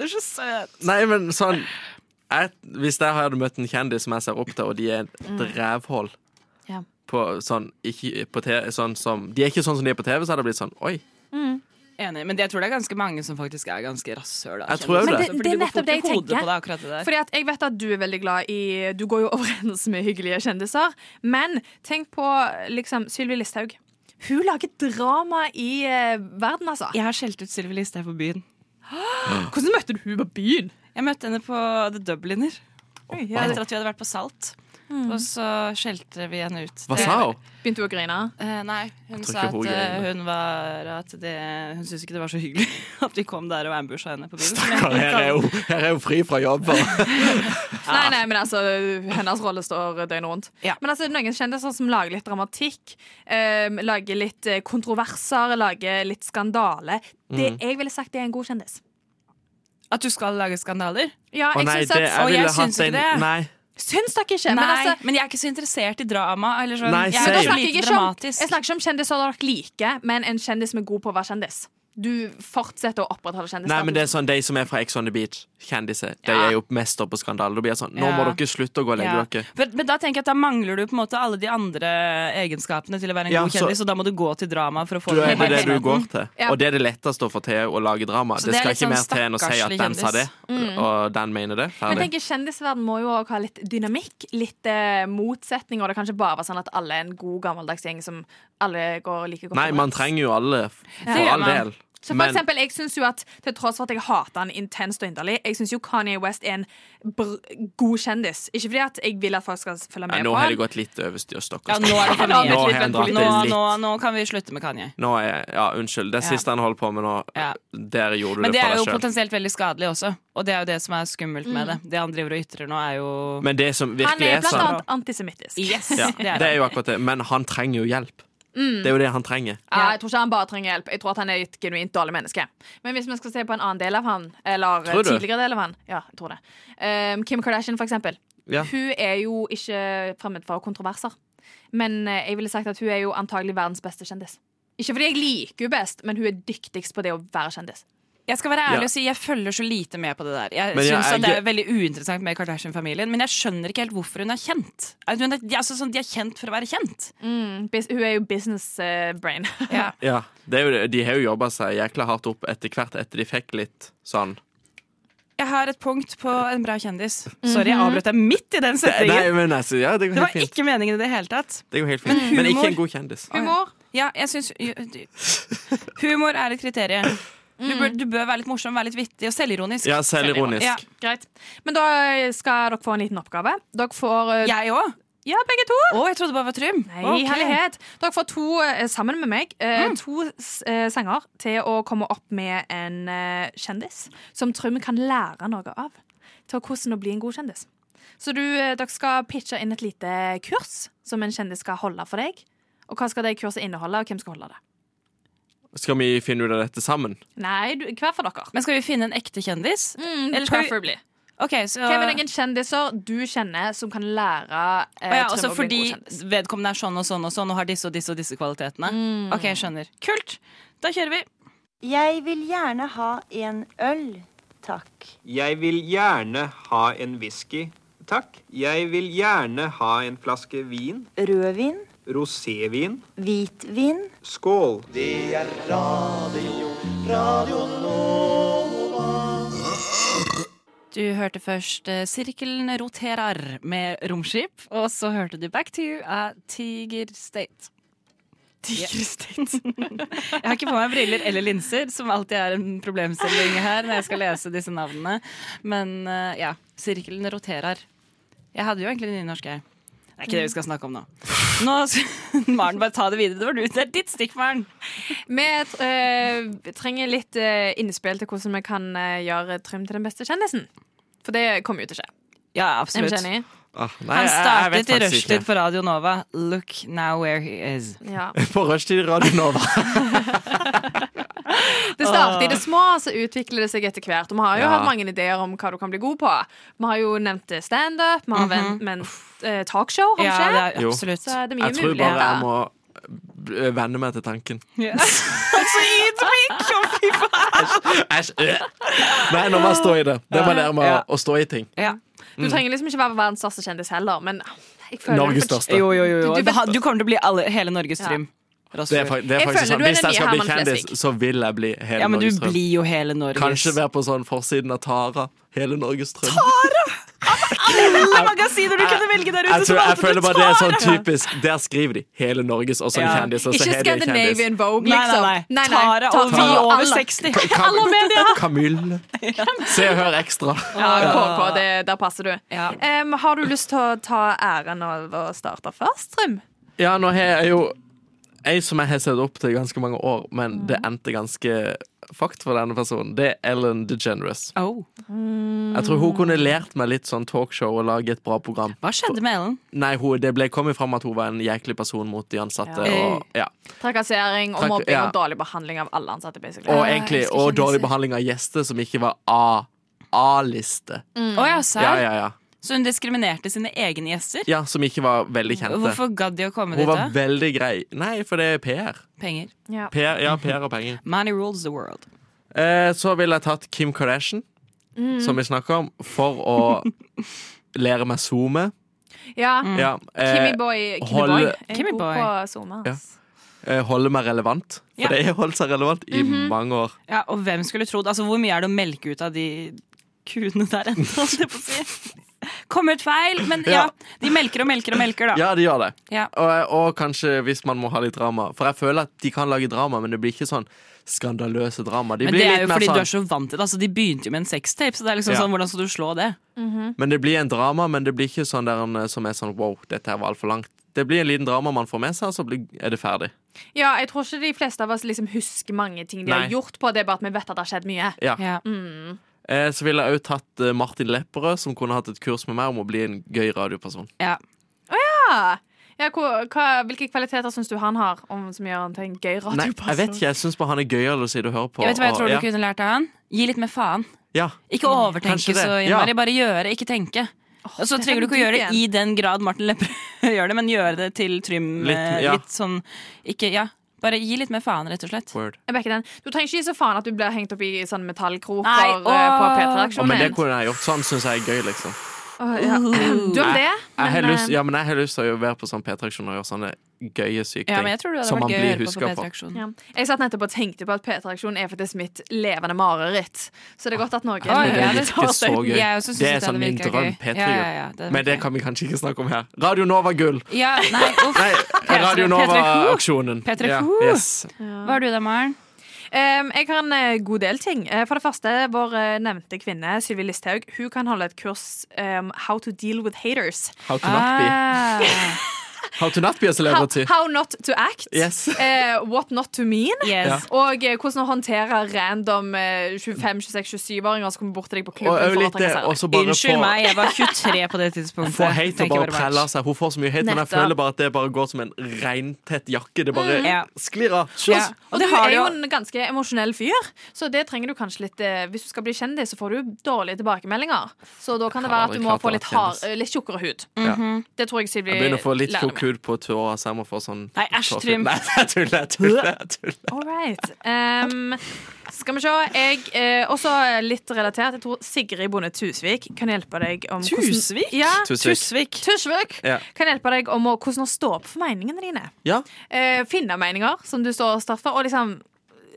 Det er så søt. Nei, men sånn jeg, Hvis jeg hadde møtt en kjendis som jeg ser opp til, og de er et rævhull Mm. Ja. på, sånn, ikke, på te, sånn som, De er ikke sånn som de er på TV, så hadde jeg blitt sånn Oi. Enig, men jeg tror det er ganske mange som faktisk er ganske rasshøl. da, Jeg tror jeg kjenner jeg. jo det. Men det- Fordi det er går nettopp fort det i jeg hodet tenker. på deg akkurat det der. Fordi at jeg vet at du er veldig glad i Du går jo overens med hyggelige kjendiser. Men tenk på liksom Sylvi Listhaug. Hun lager drama i eh, verden, altså. Jeg har skjelt ut Sylvi Listhaug på byen. Hvordan møtte du hun på byen? Jeg møtte henne på The Dubliner Ja, etter at vi hadde vært på Salt. Og så skjelte vi henne ut. Hva Det- sa hun? Begynte hun å grine? Eh, nei, hun Jeg tror sa ikke at hun eh, greier det. hun var at det, Hun syntes ikke det var så hyggelig at vi kom der og ambusha henne på byen. Her er hun, her er hun fri fra jobb. og- Nei, nei, men altså, hennes rolle står døgnet rundt. Ja. Men altså, noen kjendiser som lager litt dramatikk, eh, lager litt eh, kontroverser, lager litt skandale. Det, jeg ville sagt det er en god kjendis. At du skal lage skandaler? Ja, Å jeg nei, syns det, at jeg Å, jeg ville hatt syns ikke en det. Nei. Syns dere ikke? Nei, men altså, jeg er ikke så interessert i drama. Eller sånn. Nei, jeg er same. da ganske snakker jeg, lite ikke om, jeg dramatisk. snakker ikke om kjendiser dere liker, men en kjendis som er god på å være kjendis. Du fortsetter å opprettholde kjendisstatusen. nei, men det er sånn, De som er fra Ex on the Beach, kjendiser, de Ja. er jo mester på skandaler. Da blir jeg sånn, Nå Ja. må dere slutte å gå og legge Ja. dere. Men, men da tenker jeg at da mangler du på en måte alle de andre egenskapene til å være en Ja, god så- kjendis, og da må du gå til drama for å få Du er det det du oppmerksomheten. går til. Ja. Og det er det letteste å få til å lage drama. Så Det det er skal litt ikke sånn mer til enn å si at stakkarslig den sa det, kjendis. Mm. og den mener det. Ferdig. Men jeg tenker Kjendisverden må jo også ha litt dynamikk, litt eh, motsetning. Og det kan ikke bare være sånn at alle er en god, gammeldags gjeng som alle går like godt Nei, man overens. trenger jo alle, f- for Det gjør all man. del. Så for Men- eksempel, jeg synes jo at Til tross for at jeg hater han intenst og inderlig, jeg syns jo Kanye West er en br god kjendis. Ikke fordi at jeg vil at folk skal følge Ja, med på nå har han. det gått litt over styr stokk og Ja, nå er det for stein. mye. Nå har han dratt Nå, det nå, litt. nå kan vi slutte med Kanye. Nå er, ja, unnskyld. Det Ja. siste han holder på med nå, Ja. der gjorde du Men det det er jo for deg sjøl. potensielt veldig skadelig også, og det er jo det som er skummelt med det. Det han driver og ytrer nå, er jo Men det som Han virkelig er er blant sånn, annet antisemittisk. Yes! ja, det Mm. er det det. er jo akkurat det. Men han trenger jo hjelp. Det er jo det han trenger. Ja, Eh, jeg tror ikke han bare trenger hjelp. Jeg tror at han er et genuint dårlig menneske. Men hvis vi skal se på en annen del av han, eller eh, Tror du? tidligere del av han Ja, jeg tror det. Um, Kim Kardashian, for eksempel. Ja. Hun er jo ikke fremmed for kontroverser. Men eh, jeg ville sagt at hun er jo antagelig verdens beste kjendis. Ikke fordi jeg liker henne best, men hun er dyktigst på det å være kjendis. Jeg skal være Ja. ærlig og si jeg følger så lite med på det der. Jeg Men jeg synes er at Det gø- er veldig uinteressant med Kardashian-familien, men jeg skjønner ikke helt hvorfor hun er kjent. At hun er- de er altså sånn, de er kjent for å være kjent. Bus- Hun er jo business eh, brain. Ja, det er jo det. De har jo jobba seg jækla hardt opp etter hvert etter de fikk litt sånn Jeg har et punkt på en bra kjendis. Sorry, jeg avbrøt deg midt i den Nei, setningen. men altså, ja, det går Det var helt fint. ikke meningen i det hele tatt. Det går helt fint. Men, humor- ikke en god kjendis. Humor. Ja, jeg synes, humor er et kriterium. Du bør, du bør være litt morsom, være litt vittig og selvironisk. Ja, selvironisk. Ja. Greit. Men da eh, skal dere få en liten oppgave. Dere får eh, Jeg òg. ja, begge to. Å, jeg trodde det bare var Trym. Nei, Ok. herlighet. Dere får to, eh, sammen med meg, eh, to s- eh, sanger til å komme opp med en eh, kjendis som Trym kan lære noe av. Til hvordan å bli en god kjendis. Så du, eh, dere skal pitche inn et lite kurs som en kjendis skal holde for deg. Og hva skal det kurset inneholde, og hvem skal holde det? Skal vi finne ut av dette sammen? Nei, du, hver for dere. Mm, Men skal vi finne en ekte kjendis? Eller skal vi- preferably. Ok, så Hvem er noen kjendiser du kjenner som kan lære eh, Å ja, Trym også å bli en fordi god kjendis? vedkommende er sånn og sånn og sånn og har disse og disse og disse kvalitetene. Mm. Ok, jeg skjønner. Kult! Da kjører vi. Jeg vil gjerne ha en øl, takk. Jeg vil gjerne ha en whisky, takk. Jeg vil gjerne ha en flaske vin. Rødvin, Rosévin. hvitvin. Skål. Du hørte først eh, 'Sirkelen roterer' med Romskip, og så hørte du 'Back to you' av Tiger State. Tiger State. jeg har ikke på meg briller eller linser, som alltid er en problemstilling her når jeg skal lese disse navnene. Men eh, ja, 'Sirkelen roterer'. Jeg hadde jo egentlig nynorsk, jeg. Det er ikke det vi skal snakke om nå. nå Maren, bare ta det videre. Det var du. Det er ditt stikk, Maren. Vi eh, trenger litt eh, innspill til hvordan vi kan eh, gjøre Trym til den beste kjendisen. For det kommer jo til å skje. Ja, Er vi absolutt. ikke enig? Ah, nei, Han jeg- jeg vet startet i faktisk rushtid ikke. for Radio Nova. Look now where he is. Ja. På rushtid i Radio Nova. Det starter i det små, så utvikler det seg etter hvert. Og vi har jo Ja. hatt mange ideer om hva du kan bli god på. Vi har jo nevnt eh, standup, vi har ven- men, eh, talkshow, har Mhm. vi Ja, ikke? det er, Jo. absolutt. Så det er mye Jeg tror muligheter. bare jeg må eh, venne meg til tanken. Ja. Så ydmyk! Å, fy faen. Æsj! øh. Nei, nå må jeg stå i det. Det må jeg lære meg Ja. å- å stå i ting. Ja. Du trenger liksom ikke være verdens største kjendis heller, men jeg føler Norges du fort- største. Jo, jo, jo. Du- jo. du vet- Ha- Du kommer til å bli alle, hele Norges Trym. Det er, fak- det er Jeg faktisk føler sånn. du er Hvis den jeg nye skal bli Herman kjendis, Flesvig. så vil jeg bli hele Ja, men du Norges drøm. blir jo hele Norges. Kanskje være på sånn forsiden av Tara. Hele Norges drøm. Alle magasiner du kunne velge der Jeg, ute! tror, som jeg valgte føler du bare det er tar. sånn typisk Der skriver de 'Hele Norges' og så en Ja. kjendis. Og så er Ikke det en kjendis. Scandinavian Vogue, Nei, nei, liksom. nei. Tara og vi Tara og over alle. 60. Kam Kamille. Se og hør ekstra. Ja, KK, det, der passer du. Ja. Em, har du lyst til å ta æren av å starte først, Trym? Ja, nå har jeg jo ei som jeg har sett opp til i ganske mange år, men det endte ganske fakt for denne personen. Det er Ellen DeGeneres. Oh. Jeg tror hun kunne lært meg litt sånn talkshow og lage et bra program. Hva skjedde med Ellen? Nei, hun, det ble kommet fram at hun var en jæklig person mot de ansatte. Ja. Og, ja. Trakassering og Trakk- mobbing ja. og dårlig behandling av alle ansatte. basically. og Ja, egentlig jeg skal og ikke dårlig si- behandling av gjester som ikke var A- A-liste. Å ja, Ja, serr? ja, ja. Så hun diskriminerte sine egne gjester? ja, som ikke var veldig kjente. Hvorfor gadd de å komme Hun dit? var da? veldig grei. Nei, for det er PR. Penger. Ja. PR ja, PR og penger. Money rules the world. Eh, så ville jeg tatt Kim Kardashian, Mm. som vi snakker om, for å lære meg zoome. Ja. Mm. Ja, eh, Kimmy Boy, Kimmy hold- Boy er Kimmy god Boy. på SoMe. ass. eh, holde meg relevant. For Ja. Mhm. det har holdt seg relevant i mange år. Ja, og hvem skulle trodd Altså, hvor mye er det å melke ut av de kuene der ennå, holdt jeg på å si? Kom ut feil, men ja. Ja. De melker og melker og melker, da. Ja, de gjør det. Ja. Og, og kanskje hvis man må ha litt drama. For jeg føler at de kan lage drama, men det blir ikke sånn skandaløse drama. De Men blir det er litt jo mer fordi du sånn, er så vant til det. Altså, de begynte jo med en sextape, så det er liksom Ja. sånn, hvordan skal du slå det? Men det blir en drama, men det blir ikke sånn der en, eh, som er sånn wow, dette her var altfor langt. Det blir en liten drama man får med seg, og så blir, er det ferdig. Ja, jeg tror ikke de fleste av oss liksom husker mange ting de Nei. har gjort på. Det er bare at vi vet at det har skjedd mye. Ja. Ja. Eh, så ville jeg òg tatt eh, Martin Lepperød, som kunne hatt et kurs med meg om å bli en gøy radioperson. Ja. Ja. Ja, hva, hva, hvilke kvaliteter syns du han har, om, som gjør han til en gøy Nei, jeg vet radioperson? ikke, jeg syns bare han er gøyere å sitte og høre på. Jeg vet hva jeg og- tror du ja. kunne lært av han? Gi litt mer faen. Ja. Ikke overtenke Kanskje det. så Ja. innmari. Bare gjøre, ikke tenke. Og så dette trenger du var ikke å gjøre det dypt i den grad Martin Lepperød gjør det, men gjøre det til Trym Litt, eh, ja. litt sånn ikke, Ja. Bare gi litt mer faen, rett og slett. Word. Jeg backer den. Du trenger ikke gi så faen at du blir hengt opp i sånne metallkroker Nei, eh, på åh. Ja, men det P3-aksjonen. kunne jeg gjort. Sånn syns jeg er gøy, liksom. ja. Du om det? Jeg har Men, lyst, eh, ja, men jeg har lyst til å være på sånn P-traksjon og gjøre sånne gøye, syke ting. Ja, men jeg tror det hadde som man vært gøy å høre blir på huska på for. P3-aksjonen. ja. Jeg satt nettopp og tenkte på at P3-aksjonen er faktisk mitt levende mareritt. Så det er godt at noen Oi, Det ja, er det ikke så gøy. Jeg også synes Det er at det sånn min virker drøm. gøy. P3-gull. Ja, ja, ja, det men det virker kan vi kanskje ikke snakke om her. Radio Nova Gull! Ja, nei, uff. Nei, Radio Nova-aksjonen. P3 Ja, Ho. yes. Hva har du da, Maren? Em, jeg har en eh, god del ting. Eh, for det første, vår eh, nevnte kvinne, Sylvi Listhaug, hun kan holde et kurs em, How to deal with haters. How to not be. Ah, How to not be a How, celebrity. how not to act. Yes. eh, what not to mean. yes. Og eh, hvordan å håndtere random eh, 25-26-27-åringer som kommer bort til deg på Og klubben. også for å litt eh, det, trakassere deg. også bare Unnskyld få- meg, jeg var 23 på det tidspunktet. Få hate og Tenker bare bare prelle bæsj. av seg. Hun får så mye hate, men jeg Nettopp. føler bare at det bare går som en regntett jakke. Det bare Ja. sklir av. Mm. Ja. Og, Og det du har er du jo jo. en ganske emosjonell fyr, så det trenger du kanskje litt eh, Hvis du skal bli kjendis, så får du dårlige tilbakemeldinger. Så da kan det Jeg har være at aldri du må klart å få være litt, hard, kjendis. eh, litt tjukkere hud. Mm. Ja. Mhm. Det tror jeg Sylvi Jeg begynner å få litt lærer tjukk meg. hud på tåa, så jeg må få sånn Nei, æsj, tåfyll. Trym. Nei, jeg tuller, jeg tuller. jeg tuller. All right. Ehm, skal vi se. Jeg, eh, også litt relatert. Jeg tror Sigrid Bonde Tusvik kan hjelpe deg om hvordan- Tusvik? Ja, Tusvik. Tusvik. Tusvik Ja. kan hjelpe deg om å, hvordan å stå opp for meningene dine. Ja, Eh, finne meninger som du står sterkt for, og liksom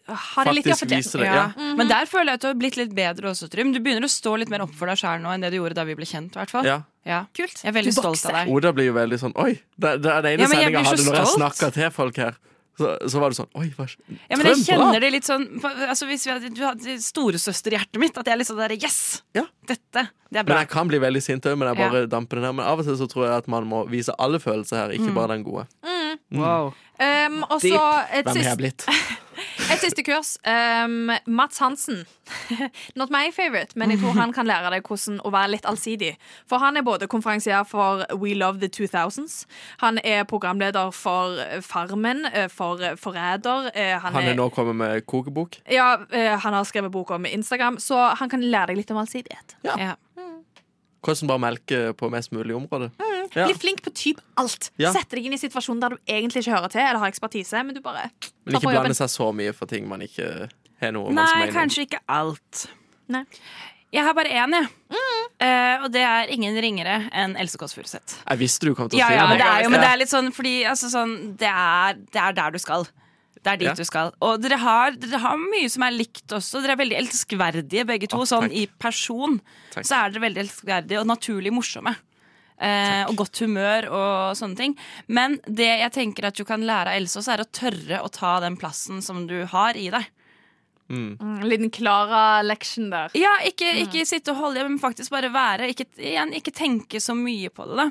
ha det litt faktisk fortjent. viser det. Ja. Men der føler jeg at du har blitt litt bedre også, Trym. Du begynner å stå litt mer opp for deg sjæl nå enn det du gjorde da vi ble kjent. i hvert fall. Ja. Ja. Kult. Jeg er veldig Du stolt av deg. Oda blir jo veldig sånn Oi! Det, det er den Ja, men jeg ene sendinga jeg blir hadde så når jeg stolt. snakka til folk her. Så, så var det sånn Oi, hva skj- Ja, men jeg Trøm, bra. kjenner det litt sånn altså, Hvis vi hadde, du hadde storesøsterhjertet mitt, at jeg er litt sånn der Yes! Ja. Dette. Det er Men bra. jeg kan bli veldig sint òg, men jeg bare damper det ned. Men av og til så tror jeg at man må vise alle Mm. følelser her, ikke bare den gode. Wow. Um, og Deep. så et Hvem har jeg siste blitt? Et siste kurs. Um, Mats Hansen. Not my favorite, men jeg tror han kan lære deg hvordan å være litt allsidig. For han er både konferansier for We Love the 2000s, han er programleder for Farmen, eh, for Forræder eh, Han er nå kommet med kokebok. ja, eh, han har skrevet bok om Instagram, så han kan lære deg litt om allsidighet. Ja. Hvordan bare melke på mest mulig område. Ja. Bli flink på typ alt. Ja. Sett deg inn i situasjonen der du egentlig ikke hører til eller har ekspertise, men du bare Men tar ikke på jobben. blande seg så mye for ting man ikke har noe Nei, kanskje ikke alt. Nei. Mm. Jeg har bare én, jeg. Eh, og det er ingen ringere enn Else Kåss Furuseth. Jeg visste du kom til å Ja, si ja, men det det. er jo men det er litt sånn fordi altså, sånn, det, er, det er der du skal. Det er dit Ja. du skal. Og dere har, dere har mye som er likt også. Dere er veldig elskverdige begge to. Å, sånn takk. i person Takk. så er dere veldig elskverdige og naturlig morsomme. Eh, og godt humør og sånne ting. Men det jeg tenker at du kan lære av Else også, er å tørre å ta den plassen som du har i deg. Mm, En liten Klara-leksjon der. Ja, ikke, Mm. ikke sitte og holde, men faktisk bare være. Ikke, igjen, ikke tenke så mye på det, da.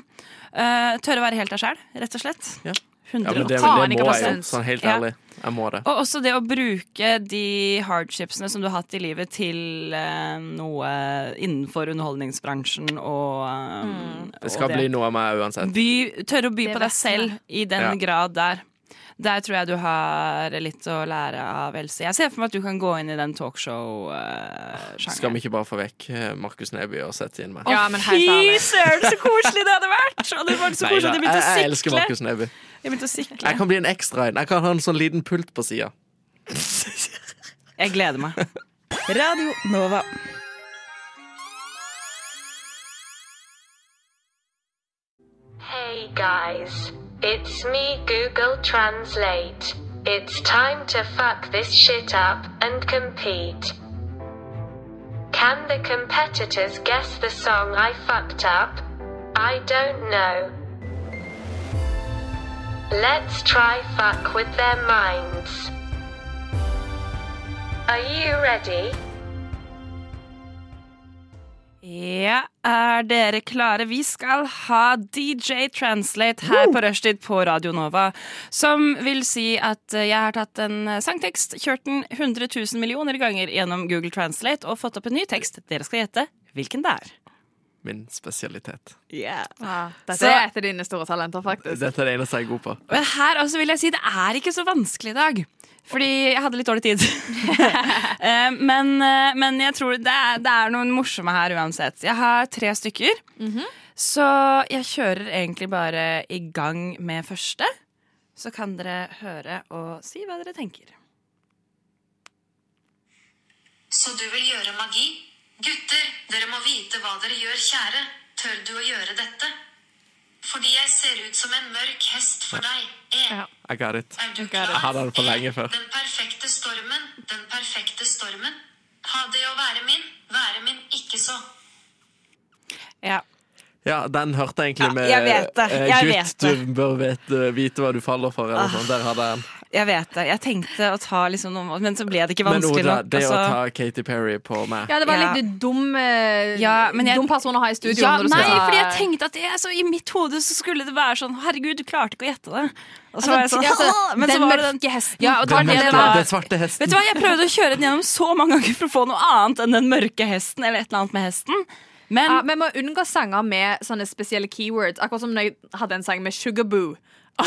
Eh, tørre å være helt deg sjæl, rett og slett. Ja. Ja, 100 men det, Faen, det ikke må bare jeg jo. syns. Sånn helt Ja. ærlig. Jeg må det. Og også det å bruke de hardshipsene som du har hatt i livet til eh, noe innenfor underholdningsbransjen og eh, Det skal og det. bli noe av meg uansett. by, Tørre å by Det på vet deg selv i den Ja. grad der. Der tror jeg du har litt å lære av Else. Jeg ser for meg at du kan gå inn i den eh, Skal talkshow-sjangeren. vi ikke bare få vekk eh, Markus Neby og sette inn meg? Ja, men helt ærlig. søren, så koselig det hadde vært! Og det var så Nei, koselig da, at jeg jeg, jeg begynte å elsker sikle. Markus Neby. Jeg begynte å sikle. Jeg kan bli en ekstra en. Jeg kan ha en sånn liten pult på sida. Jeg gleder meg. Radio Nova. Hey guys, it's me Google Translate. It's time to fuck this shit up and compete. Can the competitors guess the song I fucked up? I don't know. Let's try fuck with their minds. Are you ready? Ja, er dere klare? Vi skal ha DJ Translate her på Rushtid på Radio Nova. Som vil si at eh, jeg har tatt en eh, sangtekst, kjørt den 100 000 millioner ganger gjennom Google Translate og fått opp en ny tekst. Dere skal gjette hvilken det er. Min spesialitet. Ja, dette Så- er et av dine store talenter, faktisk. Dette er det eneste jeg er god på. Og her også vil jeg si det er ikke så vanskelig i dag. Fordi jeg hadde litt dårlig tid. Eh, men, eh, men jeg tror det er, det er noen morsomme her uansett. Jeg har tre stykker. Mhm. Så jeg kjører egentlig bare i gang med første. Så kan dere høre og si hva dere tenker. Så du vil gjøre magi? Gutter, dere må vite hva dere gjør, kjære. Tør du å gjøre dette? Fordi jeg ser ut som en mørk hest for deg. E. I got it. Er du klar? E, Jeg hadde det for lenge før. Den perfekte stormen, den perfekte stormen. Ha det å være min, være min ikke så. Ja. Ja, den hørte jeg egentlig med jeg vet det. Ah, eh, Jeg vet Gutt, du bør vite, vite hva du faller for, eller sånn. Der hadde jeg den. Jeg vet det. Jeg tenkte å ta liksom noe, men så ble det ikke Men vanskelig Oda, nok. det å altså. ta Katy Perry på meg Ja, det var Ja. litt dum, eh, Ja, men jeg- dum person å ha i studio. Ja, når du nei, skal ta- fordi jeg tenkte at det, altså, I mitt hode så skulle det være sånn Herregud, du klarte ikke å gjette det. Og så var jeg Altså, sånn, altså, «Åh!» men så den var det den mørke hesten. Ja, og det var Den det det mørke- var. den svarte hesten. Vet du hva, Jeg prøvde å kjøre den gjennom så mange ganger for å få noe annet enn den mørke hesten. Eller et eller annet med hesten Men Ja, vi må unngå sanger med sånne spesielle keywords. Akkurat som når jeg hadde en sang med Sugarboo.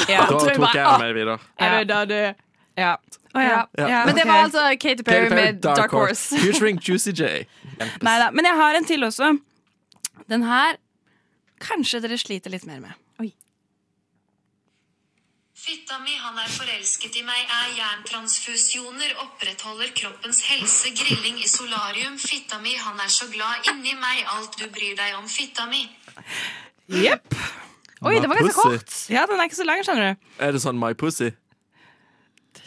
Ja. Da Så jeg tok bare, jeg meg videre. «Å, er det da du?» ja. Å, ja. Ja. Ah, Ja, Men det ok. var altså Katy Katy Perry Perry, med Dark Horse. Featuring Juicy J. Neida, Men jeg har en til også. Den her kanskje dere sliter litt mer med. Fitta mi, han er forelsket i meg, er jerntransfusjoner, opprettholder kroppens helse, grilling i solarium. Fitta mi, han er så glad inni meg, alt du bryr deg om, fitta mi. Jepp. Oi, det var ganske Pussy. kort. Ja, den er ikke så lang, skjønner du. Er det sånn My Pussy?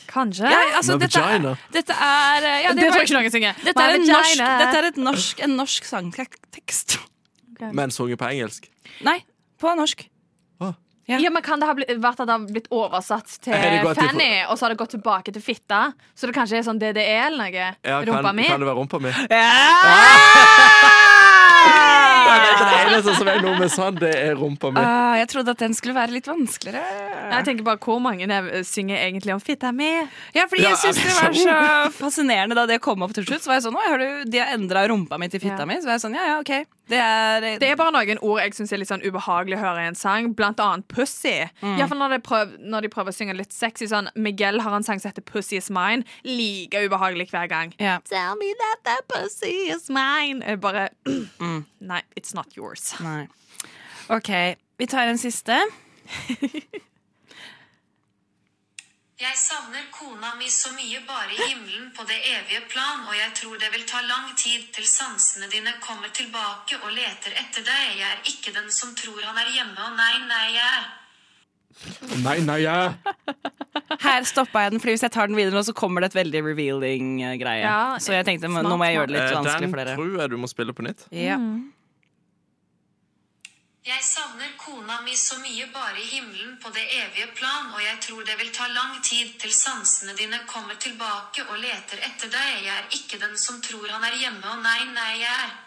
Kanskje. Ja, altså, Med dette, vagina? dette er eh, ja, det tror var- jeg ikke noen synger. Dette er, en My norsk, vagina. dette er et norsk, en norsk sangtekst. Men sunget på engelsk? Nei, på norsk. Ja, men Kan det ha bli- vært at det har blitt oversatt til Er det godt i- Fanny, og så har det gått tilbake til fitta? Så det kanskje er sånn DDE eller noe? Ja, Rumpa kan, mi? kan det være rumpa mi? Ja! det eneste som er noe med sand, det er rumpa mi. Ah, jeg trodde at den skulle være litt vanskeligere. Jeg tenker bare hvor mange nev- synger egentlig om fitta mi? Ja, fordi Ja, jeg syns det var altså. så fascinerende da det kom opp til slutt. Så var jeg sånn, «Å, har du, De har endra rumpa mi til fitta Ja. mi. Så var jeg sånn, ja, ja, ok. Det er, Det er bare noen ord jeg syns er litt sånn ubehagelig å høre i en sang, blant annet pussy. Mm. I hvert fall når, de prøv, når de prøver å synge litt sexy. Sånn Miguel har en sang som heter Pussy is mine. Like ubehagelig hver gang. Ja. Tell me that that pussy is mine. Jeg Bare Mm. Nei, it's not yours. Nei. OK, vi tar en siste. Jeg savner kona mi så mye bare i himmelen på det evige plan, og jeg tror det vil ta lang tid til sansene dine kommer tilbake og leter etter deg. Jeg er ikke den som tror han er hjemme, og nei, nei, jeg er. Nei, nei, jeg Her stoppa jeg den, fordi hvis jeg tar den videre nå, så kommer det et veldig revealing eh, greie. Ja, så jeg tenkte smart, nå må jeg gjøre det litt Eh, vanskelig Den for dere. tror jeg du må spille på nytt. Ja. Jeg savner kona mi så mye bare i himmelen på det evige plan, og jeg tror det vil ta lang tid til sansene dine kommer tilbake og leter etter deg. Jeg er ikke den som tror han er hjemme, og nei, nei, jeg er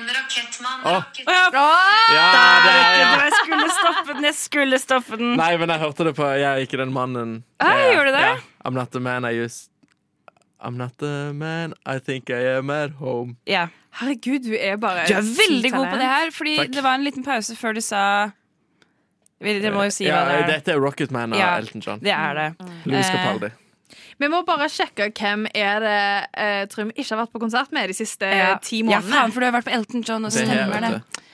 en rakettmann. Åh. rakett- Ja, Der, der, ja. vet du, Jeg skulle stoppe den, jeg skulle stoppe den. Nei, men jeg hørte det på Jeg er ikke den mannen. Hei, gjorde du det? Ja. I'm not the man I used I'm not the man I think I am at home. Ja. Herregud, du er bare Du er veldig god på det her, fordi Takk. det var en liten pause før du sa Vi- Dere må jo si ja, hva det er. Dette er Rocket Man av Ja, Elton John. det er det. Mm. Louis Eh, Capaldi. Vi må bare sjekke hvem er det eh, Trym ikke har vært på konsert med de siste eh, ti Ja, månedene. faen, for du har vært på Elton John, og Det har jeg, stemmer vet det. liksom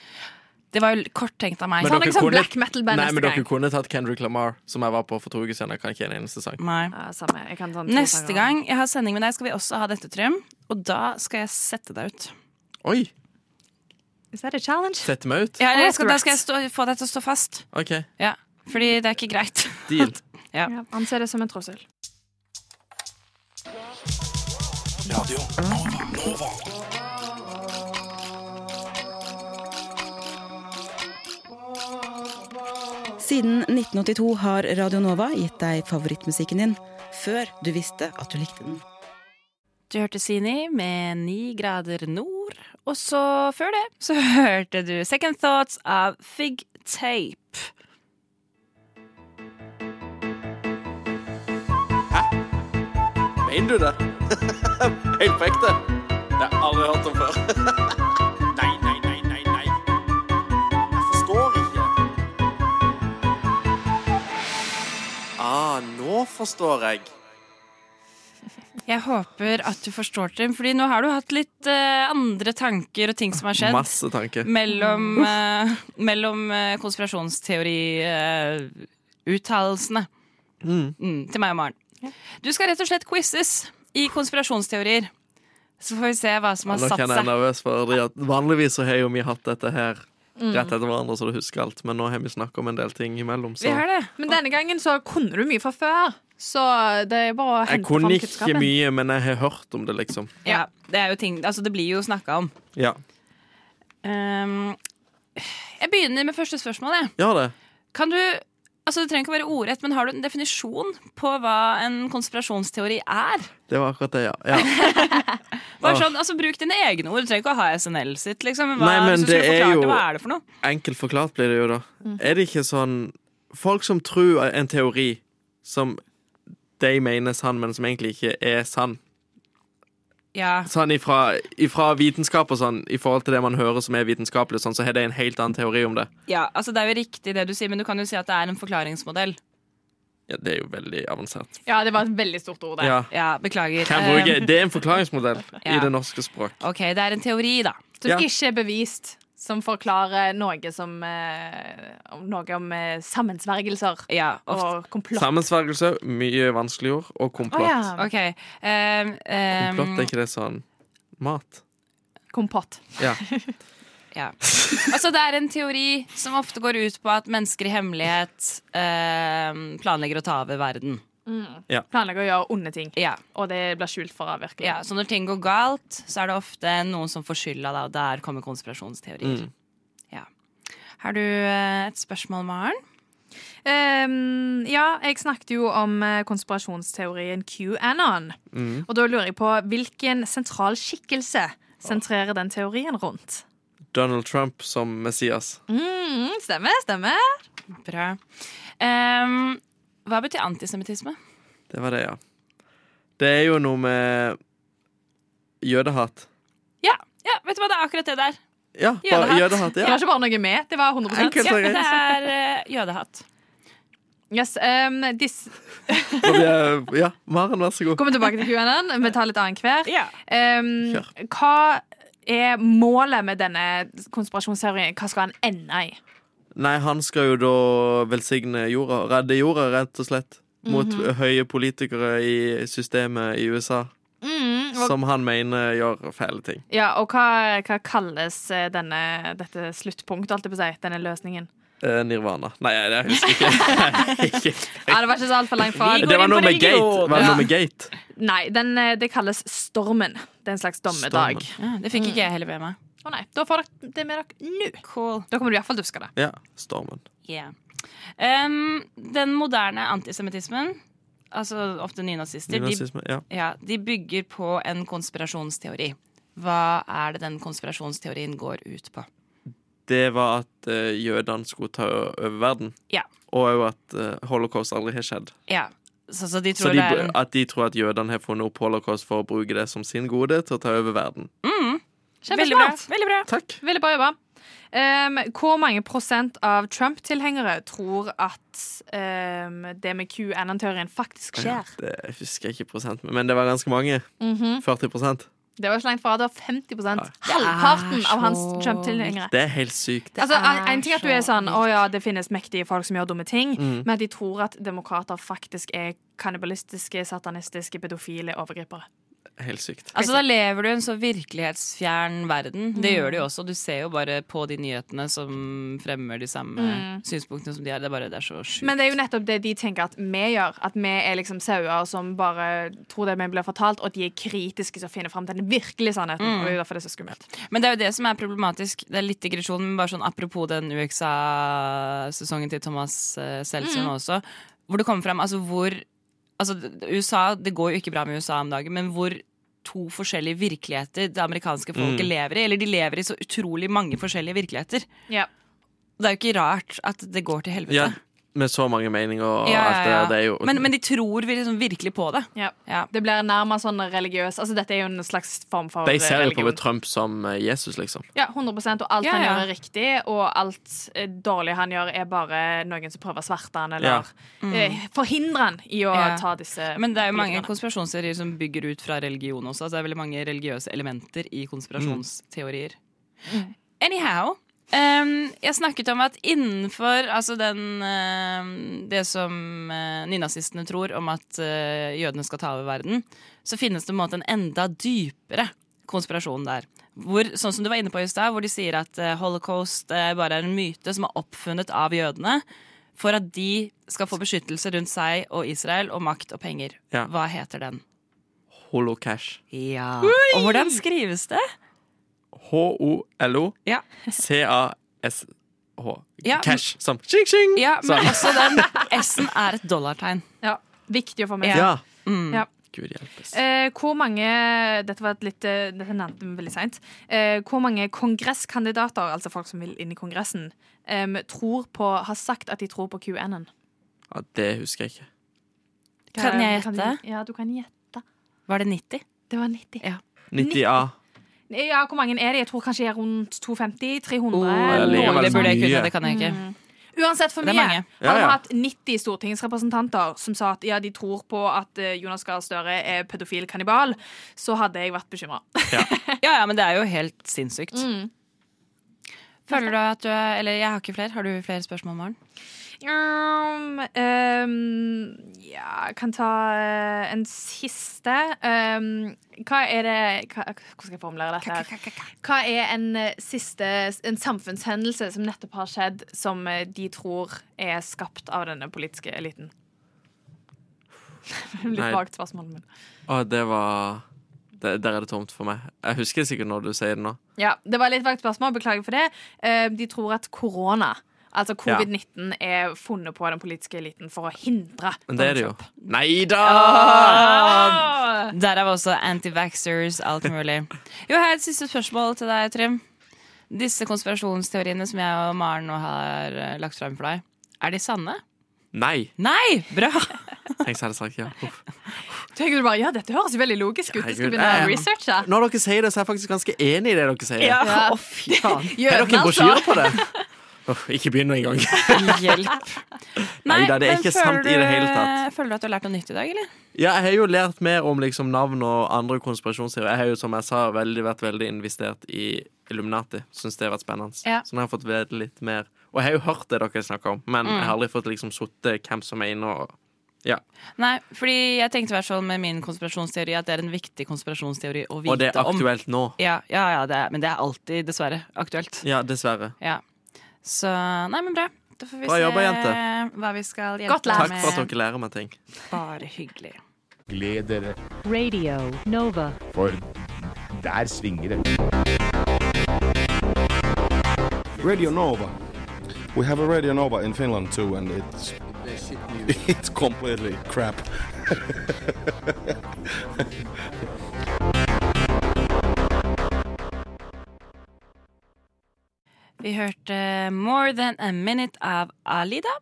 Det var jo korttenkt av meg. Men Så han er dere ikke sånn kunne- black metal-band Nei, neste men dere gang. kunne tatt Kendrick Lamar, som jeg var på for to uker siden. Jeg kan ikke en eneste sang. Nei. Ja, samme. Jeg kan ta en to Neste sanger. gang jeg har sending med deg, skal vi også ha dette, Trym. Og da skal jeg sette deg ut. Oi! Is that a challenge? Sette meg ut? Ja, eller jeg skal, da skal jeg stå, få deg til å stå fast. OK. Ja, fordi det er ikke greit. Deal. Ja. Anse det som en trussel. Radio Nova. Nova. Siden 1982 har Radio Nova gitt deg favorittmusikken din før du visste at du likte den. Du hørte Sini med 'Ni grader nord', og så før det så hørte du 'Second Thoughts' av Fig Tape. Mener du det? Helt på ekte? Det har jeg aldri hørt om før. nei, nei, nei, nei, nei. Jeg forstår ikke. Ah, nå forstår jeg. Jeg håper at du forstår, Trym, fordi nå har du hatt litt eh, andre tanker og ting som har skjedd. Masse tanker. Mellom, Uff. eh, mellom eh, konspirasjonsteori-uttalelsene. Mm. Mm, til meg og Maren. Du skal rett og slett quizes i konspirasjonsteorier. Så får vi se hva som Nå har satt kan jeg være seg. nervøs, for at vanligvis så har jo vi hatt dette her Mm. rett etter hverandre, så du husker alt. Men nå har vi snakket om en del ting imellom, så Men denne gangen så kunne du mye fra før. Så det er bare å Jeg hente fram kunne ikke kunnskapen. mye, men jeg har hørt om det, liksom. Ja, det, er jo ting, altså det blir jo snakka om. Ja. Ehm, jeg begynner med første spørsmål. Jeg. Gjør det. Kan du, altså Det trenger ikke å være ordrett, men har du en definisjon på hva en konspirasjonsteori er? Det var akkurat det, ja. ja. Bare Åh. sånn, altså Bruk dine egne ord. Du trenger ikke å ha SNL sitt. liksom men hva, Ah. Nei, men hvis du skulle det er forklart jo- det, Hva er det for noe? Enkelt forklart blir det jo, da. Mm. Er det ikke sånn Folk som tror en teori som de mener er sann, men som egentlig ikke er sann. Ja, Sånn ifra, ifra vitenskap og sånn, i forhold til det man hører som er vitenskapelig, og sånn, så har de en helt annen teori om det. ja, altså Det er jo riktig, det du sier, men du kan jo si at det er en forklaringsmodell. Ja, Det er jo veldig avansert. Ja, det var et veldig stort ord, det. Ja. beklager. Kan bruke, Ehm, det er en forklaringsmodell i Ja. det norske språk. OK, det er en teori, da. Som Ja. ikke er bevist. Som forklarer noe som eh, om- Noe om eh, sammensvergelser og komplott. Sammensvergelse, mye vanskelige ord, og komplott. Ok, ehm, ehm, Komplott, er ikke det sånn mat? Kompott. Ja. Ja. Altså, det er en teori som ofte går ut på at mennesker i hemmelighet ehm, planlegger å ta over verden. Mm. Ja. Planlegger å gjøre onde ting. Ja. Og det blir skjult for avvirkning. Ja, så når ting går galt, så er det ofte noen som får skylda, da, og der kommer konspirasjonsteorier. Mm. Ja. Har du eh, et spørsmål, Maren? Ehm, ja, jeg snakket jo om eh, konspirasjonsteorien QAnon. Mm. Og da lurer jeg på hvilken sentral skikkelse sentrerer den teorien rundt? Donald Trump som Messias. Mm, stemmer, stemmer. Bra. Ehm, hva betyr antisemittisme? Det var det, ja. Det er jo noe med jødehat. Ja, ja, vet du hva, det er akkurat det der. Ja, bare jødehat. Det Ja. var ikke bare noe med, det var 100 Ja, det er eh, jødehatt. Yes, um, dis Og det er- ja, Maren, vær så god. Kommer tilbake til QAnon. Vi tar litt annenhver. Ja. Um, hva er målet med denne konspirasjonsteorien? Hva skal den ende i? Nei, han skal jo da velsigne jorda. Redde jorda, rett og slett. Mot Mhm. høye politikere i systemet i USA. Mm, og, Som han mener gjør fæle ting. ja, og hva, hva kalles eh, denne, dette sluttpunktet, holdt jeg på å si? Denne løsningen? Eh, Nirvana. Nei, jeg husker ikke. ikke. Ja, det var ikke så altfor langt fra. Det var noe med gate. Var det Ja. noe med gate? Nei, den, eh, det kalles stormen. Det er en slags dommedag. Ja, det fikk ikke jeg heller med meg. Å nei, Da får dere det med dere nå. Da kommer du iallfall til å huske det. Ja, stormen. Yeah. Ehm, den moderne antisemittismen, altså ofte nynazister, Nynazisme, ja. ja, de bygger på en konspirasjonsteori. Hva er det den konspirasjonsteorien går ut på? Det var at eh, jødene skulle ta over verden. Ja. Og òg at eh, holocaust aldri har skjedd. Ja, Så, så de Så tror de, det er en at de tror at jødene har funnet opp holocaust for å bruke det som sin gode til å ta over verden. mm. Veldig bra. Kjempesmart. Veldig bra. Takk. Veldig bra jobba. Um, hvor mange prosent av Trump-tilhengere tror at um, det med QAnon-teorien faktisk skjer? Det jeg husker jeg ikke prosent, men det var ganske mange. Mhm. 40 Det var ikke langt fra. Det var 50 Halvparten av hans Trump-tilhengere. Det er helt sykt. Altså, en, en ting er at du er sånn Å ja, det finnes mektige folk som gjør dumme ting, Mm. men at de tror at demokrater faktisk er kannibalistiske, satanistiske, pedofile overgripere. Helt sykt. Altså, da lever du i en så virkelighetsfjern verden. Det Mm. gjør du jo også. Du ser jo bare på de nyhetene som fremmer de samme Mm. synspunktene som de har. Det er bare det er så sjukt. Men det er jo nettopp det de tenker at vi gjør. At vi er liksom sauer som bare tror det vi blir fortalt, og at de er kritiske til å finne fram til den virkelige sannheten. Mm. Og det er jo derfor det er så skummelt. Men det er jo det som er problematisk. Det er litt digresjon, men bare sånn apropos den UXA-sesongen til Thomas eh, Seltzer nå Mm. også, hvor det kommer fram altså hvor altså, d- USA, Det går jo ikke bra med USA om dagen, men hvor to forskjellige virkeligheter det amerikanske folket Mm. lever i. Eller de lever i så utrolig mange forskjellige virkeligheter. Ja. Det er jo ikke rart at det går til helvete. Ja, med så mange meninger og Ja, ja, alt det der. ja. Det er jo men, men de tror vi liksom virkelig på det. Ja. Ja. Det blir nærmest sånn religiøs Altså, dette er jo en slags form for De ser jo på religion. Trump som eh, Jesus, liksom. Ja, 100 Og alt Ja, han ja. gjør, er riktig, og alt eh, dårlig han gjør, er bare noen som prøver å sverte han, eller Ja. Mm. eh, forhindre han i å Ja. ta disse Men det er jo mange politikerne. konspirasjonsteorier som bygger ut fra religion også. Altså det er veldig mange religiøse elementer i konspirasjonsteorier. Anyhow. ehm, jeg snakket om at innenfor altså den, ehm, det som eh, nynazistene tror om at eh, jødene skal ta over verden, så finnes det på en måte en enda dypere konspirasjon der. Hvor, sånn som du var inne på i stad, hvor de sier at eh, holocaust eh, bare er en myte som er oppfunnet av jødene for at de skal få beskyttelse rundt seg og Israel og makt og penger. Ja. Hva heter den? Holocash. Ja. Oi! Og hvordan skrives det? Ja. H-o-l-o-c-a-s-h. Ja, men- Cash. Som tjing, tjing! Ja, men Sånn. også den S-en er et dollartegn. Ja, viktig å få med Ja. seg. Mm. Ja. Gud hjelpes. Eh, hvor mange Dette var et litt eh, Dette nevnte vi veldig seint. Eh, hvor mange kongresskandidater, altså folk som vil inn i Kongressen, em, tror på, har sagt at de tror på QAnon? Ja, det husker jeg ikke. Kan jeg du- gjette? Ja, du kan gjette. Var det 90? Det var 90. Ja. 90A. Ja, hvor mange er det? Jeg tror kanskje jeg er rundt 250? 300? det eller ligger noe veldig sånt. Burde jeg kunne, Mye. det kan jeg ikke. Uansett for Det er mye. mange. Ja, Hadde vi ja. hatt 90 stortingsrepresentanter som sa at ja, de tror på at eh, Jonas Gahr Støre er pedofil kannibal, så hadde jeg vært bekymra. Ja, ja, men det er jo helt sinnssykt. Føler du at du er Eller jeg har ikke flere. Har du flere spørsmål, Maren? Um, um, ja, jeg kan ta eh, en siste. Um, hva er det hva, Hvordan skal jeg formulere dette? her? Hva er en eh, siste En samfunnshendelse som nettopp har skjedd, som eh, de tror er skapt av denne politiske eliten? Nei. Litt vagt spørsmål, men Å, det var det, Der er det tomt for meg. Jeg husker sikkert når du sier det nå. Ja, det var litt vagt spørsmål, beklager for det. Eh, De tror at korona, altså Ja. covid-19, er funnet på den politiske eliten for å hindre Men det er det jo. Nei da! Ah! Derav også anti-vaxxers, alt mulig. Jo, jeg har et siste spørsmål til deg, Trym. Disse konspirasjonsteoriene som jeg og Maren nå har eh, lagt frem for deg, er de sanne? Nei! Nei! Bra! Tenk så jeg hadde sagt ja. Uff. Tenker du bare, ja, Dette høres veldig logisk ut. Jeg skal Herregud, begynne eh, å researche. Når dere sier det, så er jeg faktisk ganske enig i det dere sier. Ja. Å, fy faen. Gjør Har dere den, en altså. brosjyre på det? Uff, ikke begynn engang. Hjelp. Nei da, det er men ikke føler sant i det hele du- tatt. Føler du at du har lært noe nytt i dag, eller? Ja, jeg har jo lært mer om liksom, navn og andre konspirasjonsteorier. Jeg har jo, som jeg sa, veldig, vært veldig investert i Illuminati. Syns det har vært spennende. Ja. Så nå har jeg fått vite litt mer. Og jeg har jo hørt det dere snakker om, men Mm. jeg har aldri fått liksom sittet hvem som er inne og Ja. Nei, fordi jeg tenkte i hvert fall med min konspirasjonsteori at det er en viktig konspirasjonsteori å vite om. Og det er aktuelt nå. Ja, ja, ja det er, men det er alltid, dessverre, aktuelt. Ja, dessverre. Ja. Så Nei, men bra. Da får vi Bra se jobba, jente. hva vi skal hjelpe Takk deg for med. at dere lærer meg ting. Bare hyggelig. Gled dere, Radio Nova. for der svinger det. Radio Nova. We have a Radio Nova in Finland too, and it's it's completely crap. Vi hørte More Than A Minute av Alida.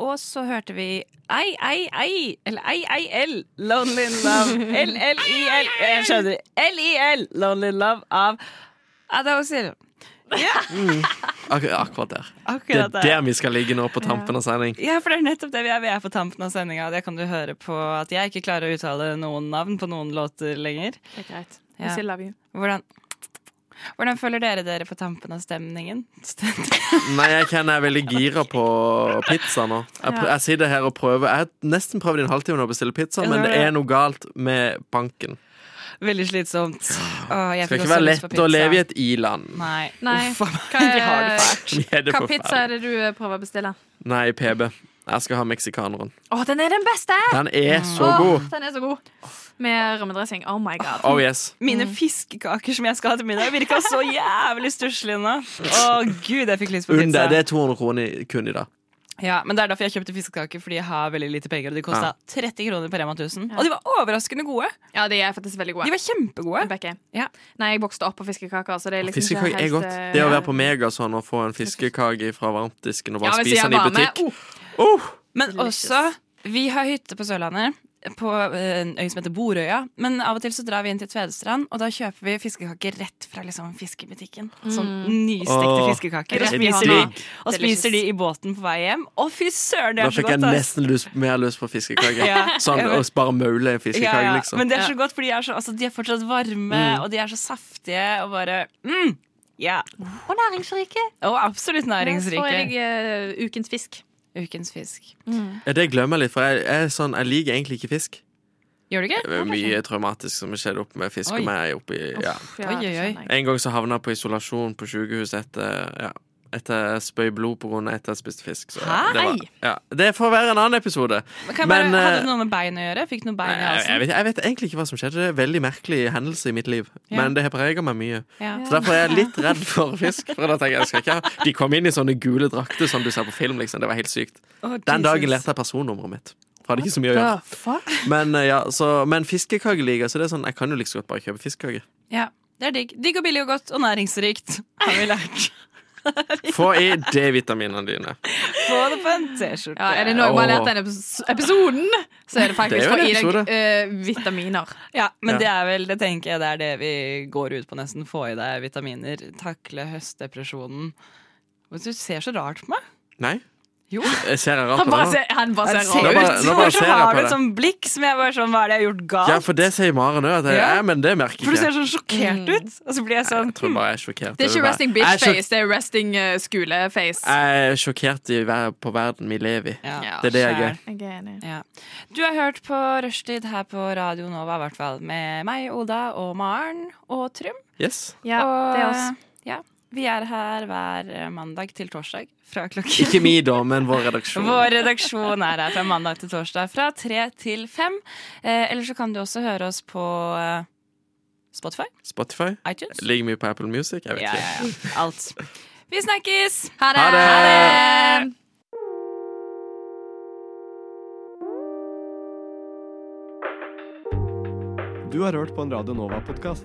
Og så hørte vi Ei, ei, ei, eller ei, ei, l, Lonely in Love. L-L-I-L, jeg skjønner. L-I-L, Lonely in Love av Ada Ozil. Ja. Ak akkurat der. Akkurat det der. er der vi skal ligge nå på tampen av sending. Ja, for det er nettopp det vi er. Vi er på tampen av sendinga, og det kan du høre på at jeg ikke klarer å uttale noen navn på noen låter lenger. Det er greit. Ja. We still love you. Hvordan, hvordan føler dere dere på tampen av stemningen? Nei, jeg kjenner jeg er veldig gira på pizza nå. Jeg, pr Ja. jeg sitter her og prøver. Jeg har nesten prøvd i en halvtime nå å bestille pizza, Ja, men det det var det. er noe galt med banken. Veldig slitsomt. Åh, jeg fikk Det skal ikke også være lyst på lett å pizza. leve i et i-land. Nei. Nei. Uff, Hva, vi har det fælt. Vi er det hva for pizza fælt. er det du eh, prøver å bestille? Nei, PB. Jeg skal ha meksikaneren. Å, den er den beste! Den er så Åh, god. Den er så god. Med rømmedressing. Oh my god. Oh yes. Mine fiskekaker som jeg skal ha til middag, virka så jævlig stusslige nå. Å gud, jeg fikk lyst på pizza. Under, det er 200 kroner i- kun i dag. Ja, men det er derfor jeg kjøpte fiskekaker, fordi jeg har veldig lite penger. Og de kosta Ja. 30 kroner på Rema 1000. Og de var overraskende gode. Ja, de er faktisk veldig gode. De var kjempegode. Becky. Nei, jeg vokste opp på fiskekaker, så det er liksom eh, Fiskekake er godt. eh, Det å være på Megason og få en fiskekake fra varmtdisken og bare spise den i butikk oh, Men også Vi har hytte på Sørlandet. På eh, en øy som heter Borøya. Men av og til så drar vi inn til Tvedestrand, og da kjøper vi fiskekaker rett fra liksom fiskebutikken. Sånn nystekte Åh, fiskekaker. Og det er spiser, de, digg. og spiser de i båten på vei hjem. Å, fy søren, det Da er så fikk jeg godt! ass. nesten lyst, mer lyst på fiskekake. Ja. Sånn å bare maule en Ja, fiskekake, ja. liksom. Men det er så godt, for de er, så, altså, de er fortsatt varme, Mm. og de er så saftige, og bare mm, ja. Og næringsrike. Og absolutt næringsrike. Får jeg eh, ukens fisk. Ukens fisk. Ja, det glemmer jeg litt, for jeg, jeg, er sånn, jeg liker egentlig ikke fisk. Gjør du Det ikke? er mye traumatisk som skjedde opp med fisk Oi. og meg oppi ja. ja, Oi, oi, oi. det skjønner En gang så havna jeg på isolasjon på sykehus etter ja, etter jeg spøy blod på grunn av etter jeg spiste fisk. Så Hæ? Det, var, ja, det får være en annen episode. Men Kan jeg bare, eh, hadde det noe med bein å gjøre? Fikk noe bein i jeg, jeg, halsen? vet, jeg vet egentlig ikke hva som skjedde. Det er en veldig merkelig hendelse i mitt liv. Ja. Men det har prega meg mye. Ja. Så derfor er jeg litt redd for fisk. For da tenker jeg, jeg skal ikke ha De kom inn i sånne gule drakter som du ser på film. Liksom. Det var helt sykt. Å, Den dagen Jesus. lærte jeg personnummeret mitt. For jeg hadde ikke så mye å Hva gjøre. faen? Men, eh, ja, så, men fiskekakeliga, så det er sånn, jeg kan jo like så godt bare kjøpe fiskekake. Ja, det er digg. Digg og billig og godt og næringsrikt, har vi lært. Få i D-vitaminene dine. Få det på en T-skjorte. Ja, er det noe man Åh. har lært i denne epis- episoden, så er det Det er faktisk jo å en gi deg episode. eh, vitaminer. Ja, men Ja. det er vel, det tenker jeg det er det vi går ut på nesten. Få i deg vitaminer, takle høstdepresjonen. Men Du ser så rart på meg. Nei? Jo. Jeg ser jeg rart Han på det bare nå? ser, han bare Altså, Jeg ser ser rar jo ut. bare- nå bare Hvorfor ser jeg har på du et det. sånn blikk som jeg bare sånn, hva er det jeg har gjort galt? Ja, for det sier Maren òg. Ja. Ja. Men det merker For du ser ikke jeg. sånn sjokkert ut. Og så blir jeg sånn Jeg tror bare jeg er sjokkert. Det er over ikke resting verden. Jeg er sjok- bitch-face, det er resting eh, skole-face. Jeg er sjokkert i ver på verden vi lever i. Ja, det er det jeg er. Jeg er enig. Ja. Du har hørt på Rushtid her på Radio Nova, i hvert fall med meg, Oda og Maren og Trym. Yes. Ja, og, det er oss. Ja, vi er her hver eh, mandag til torsdag fra klokken Ikke vi, da, men vår redaksjon. Vår redaksjon er her fra mandag til torsdag fra tre til fem. Eh, Eller så kan du også høre oss på eh, Spotify. Spotify. iTunes. Ligger mye på Apple Music? Jeg vet Ja, ja, ikke. ja. Alt. Vi snakkes! Ha det! Ha det! Du har hørt på en Radio Nova-podkast.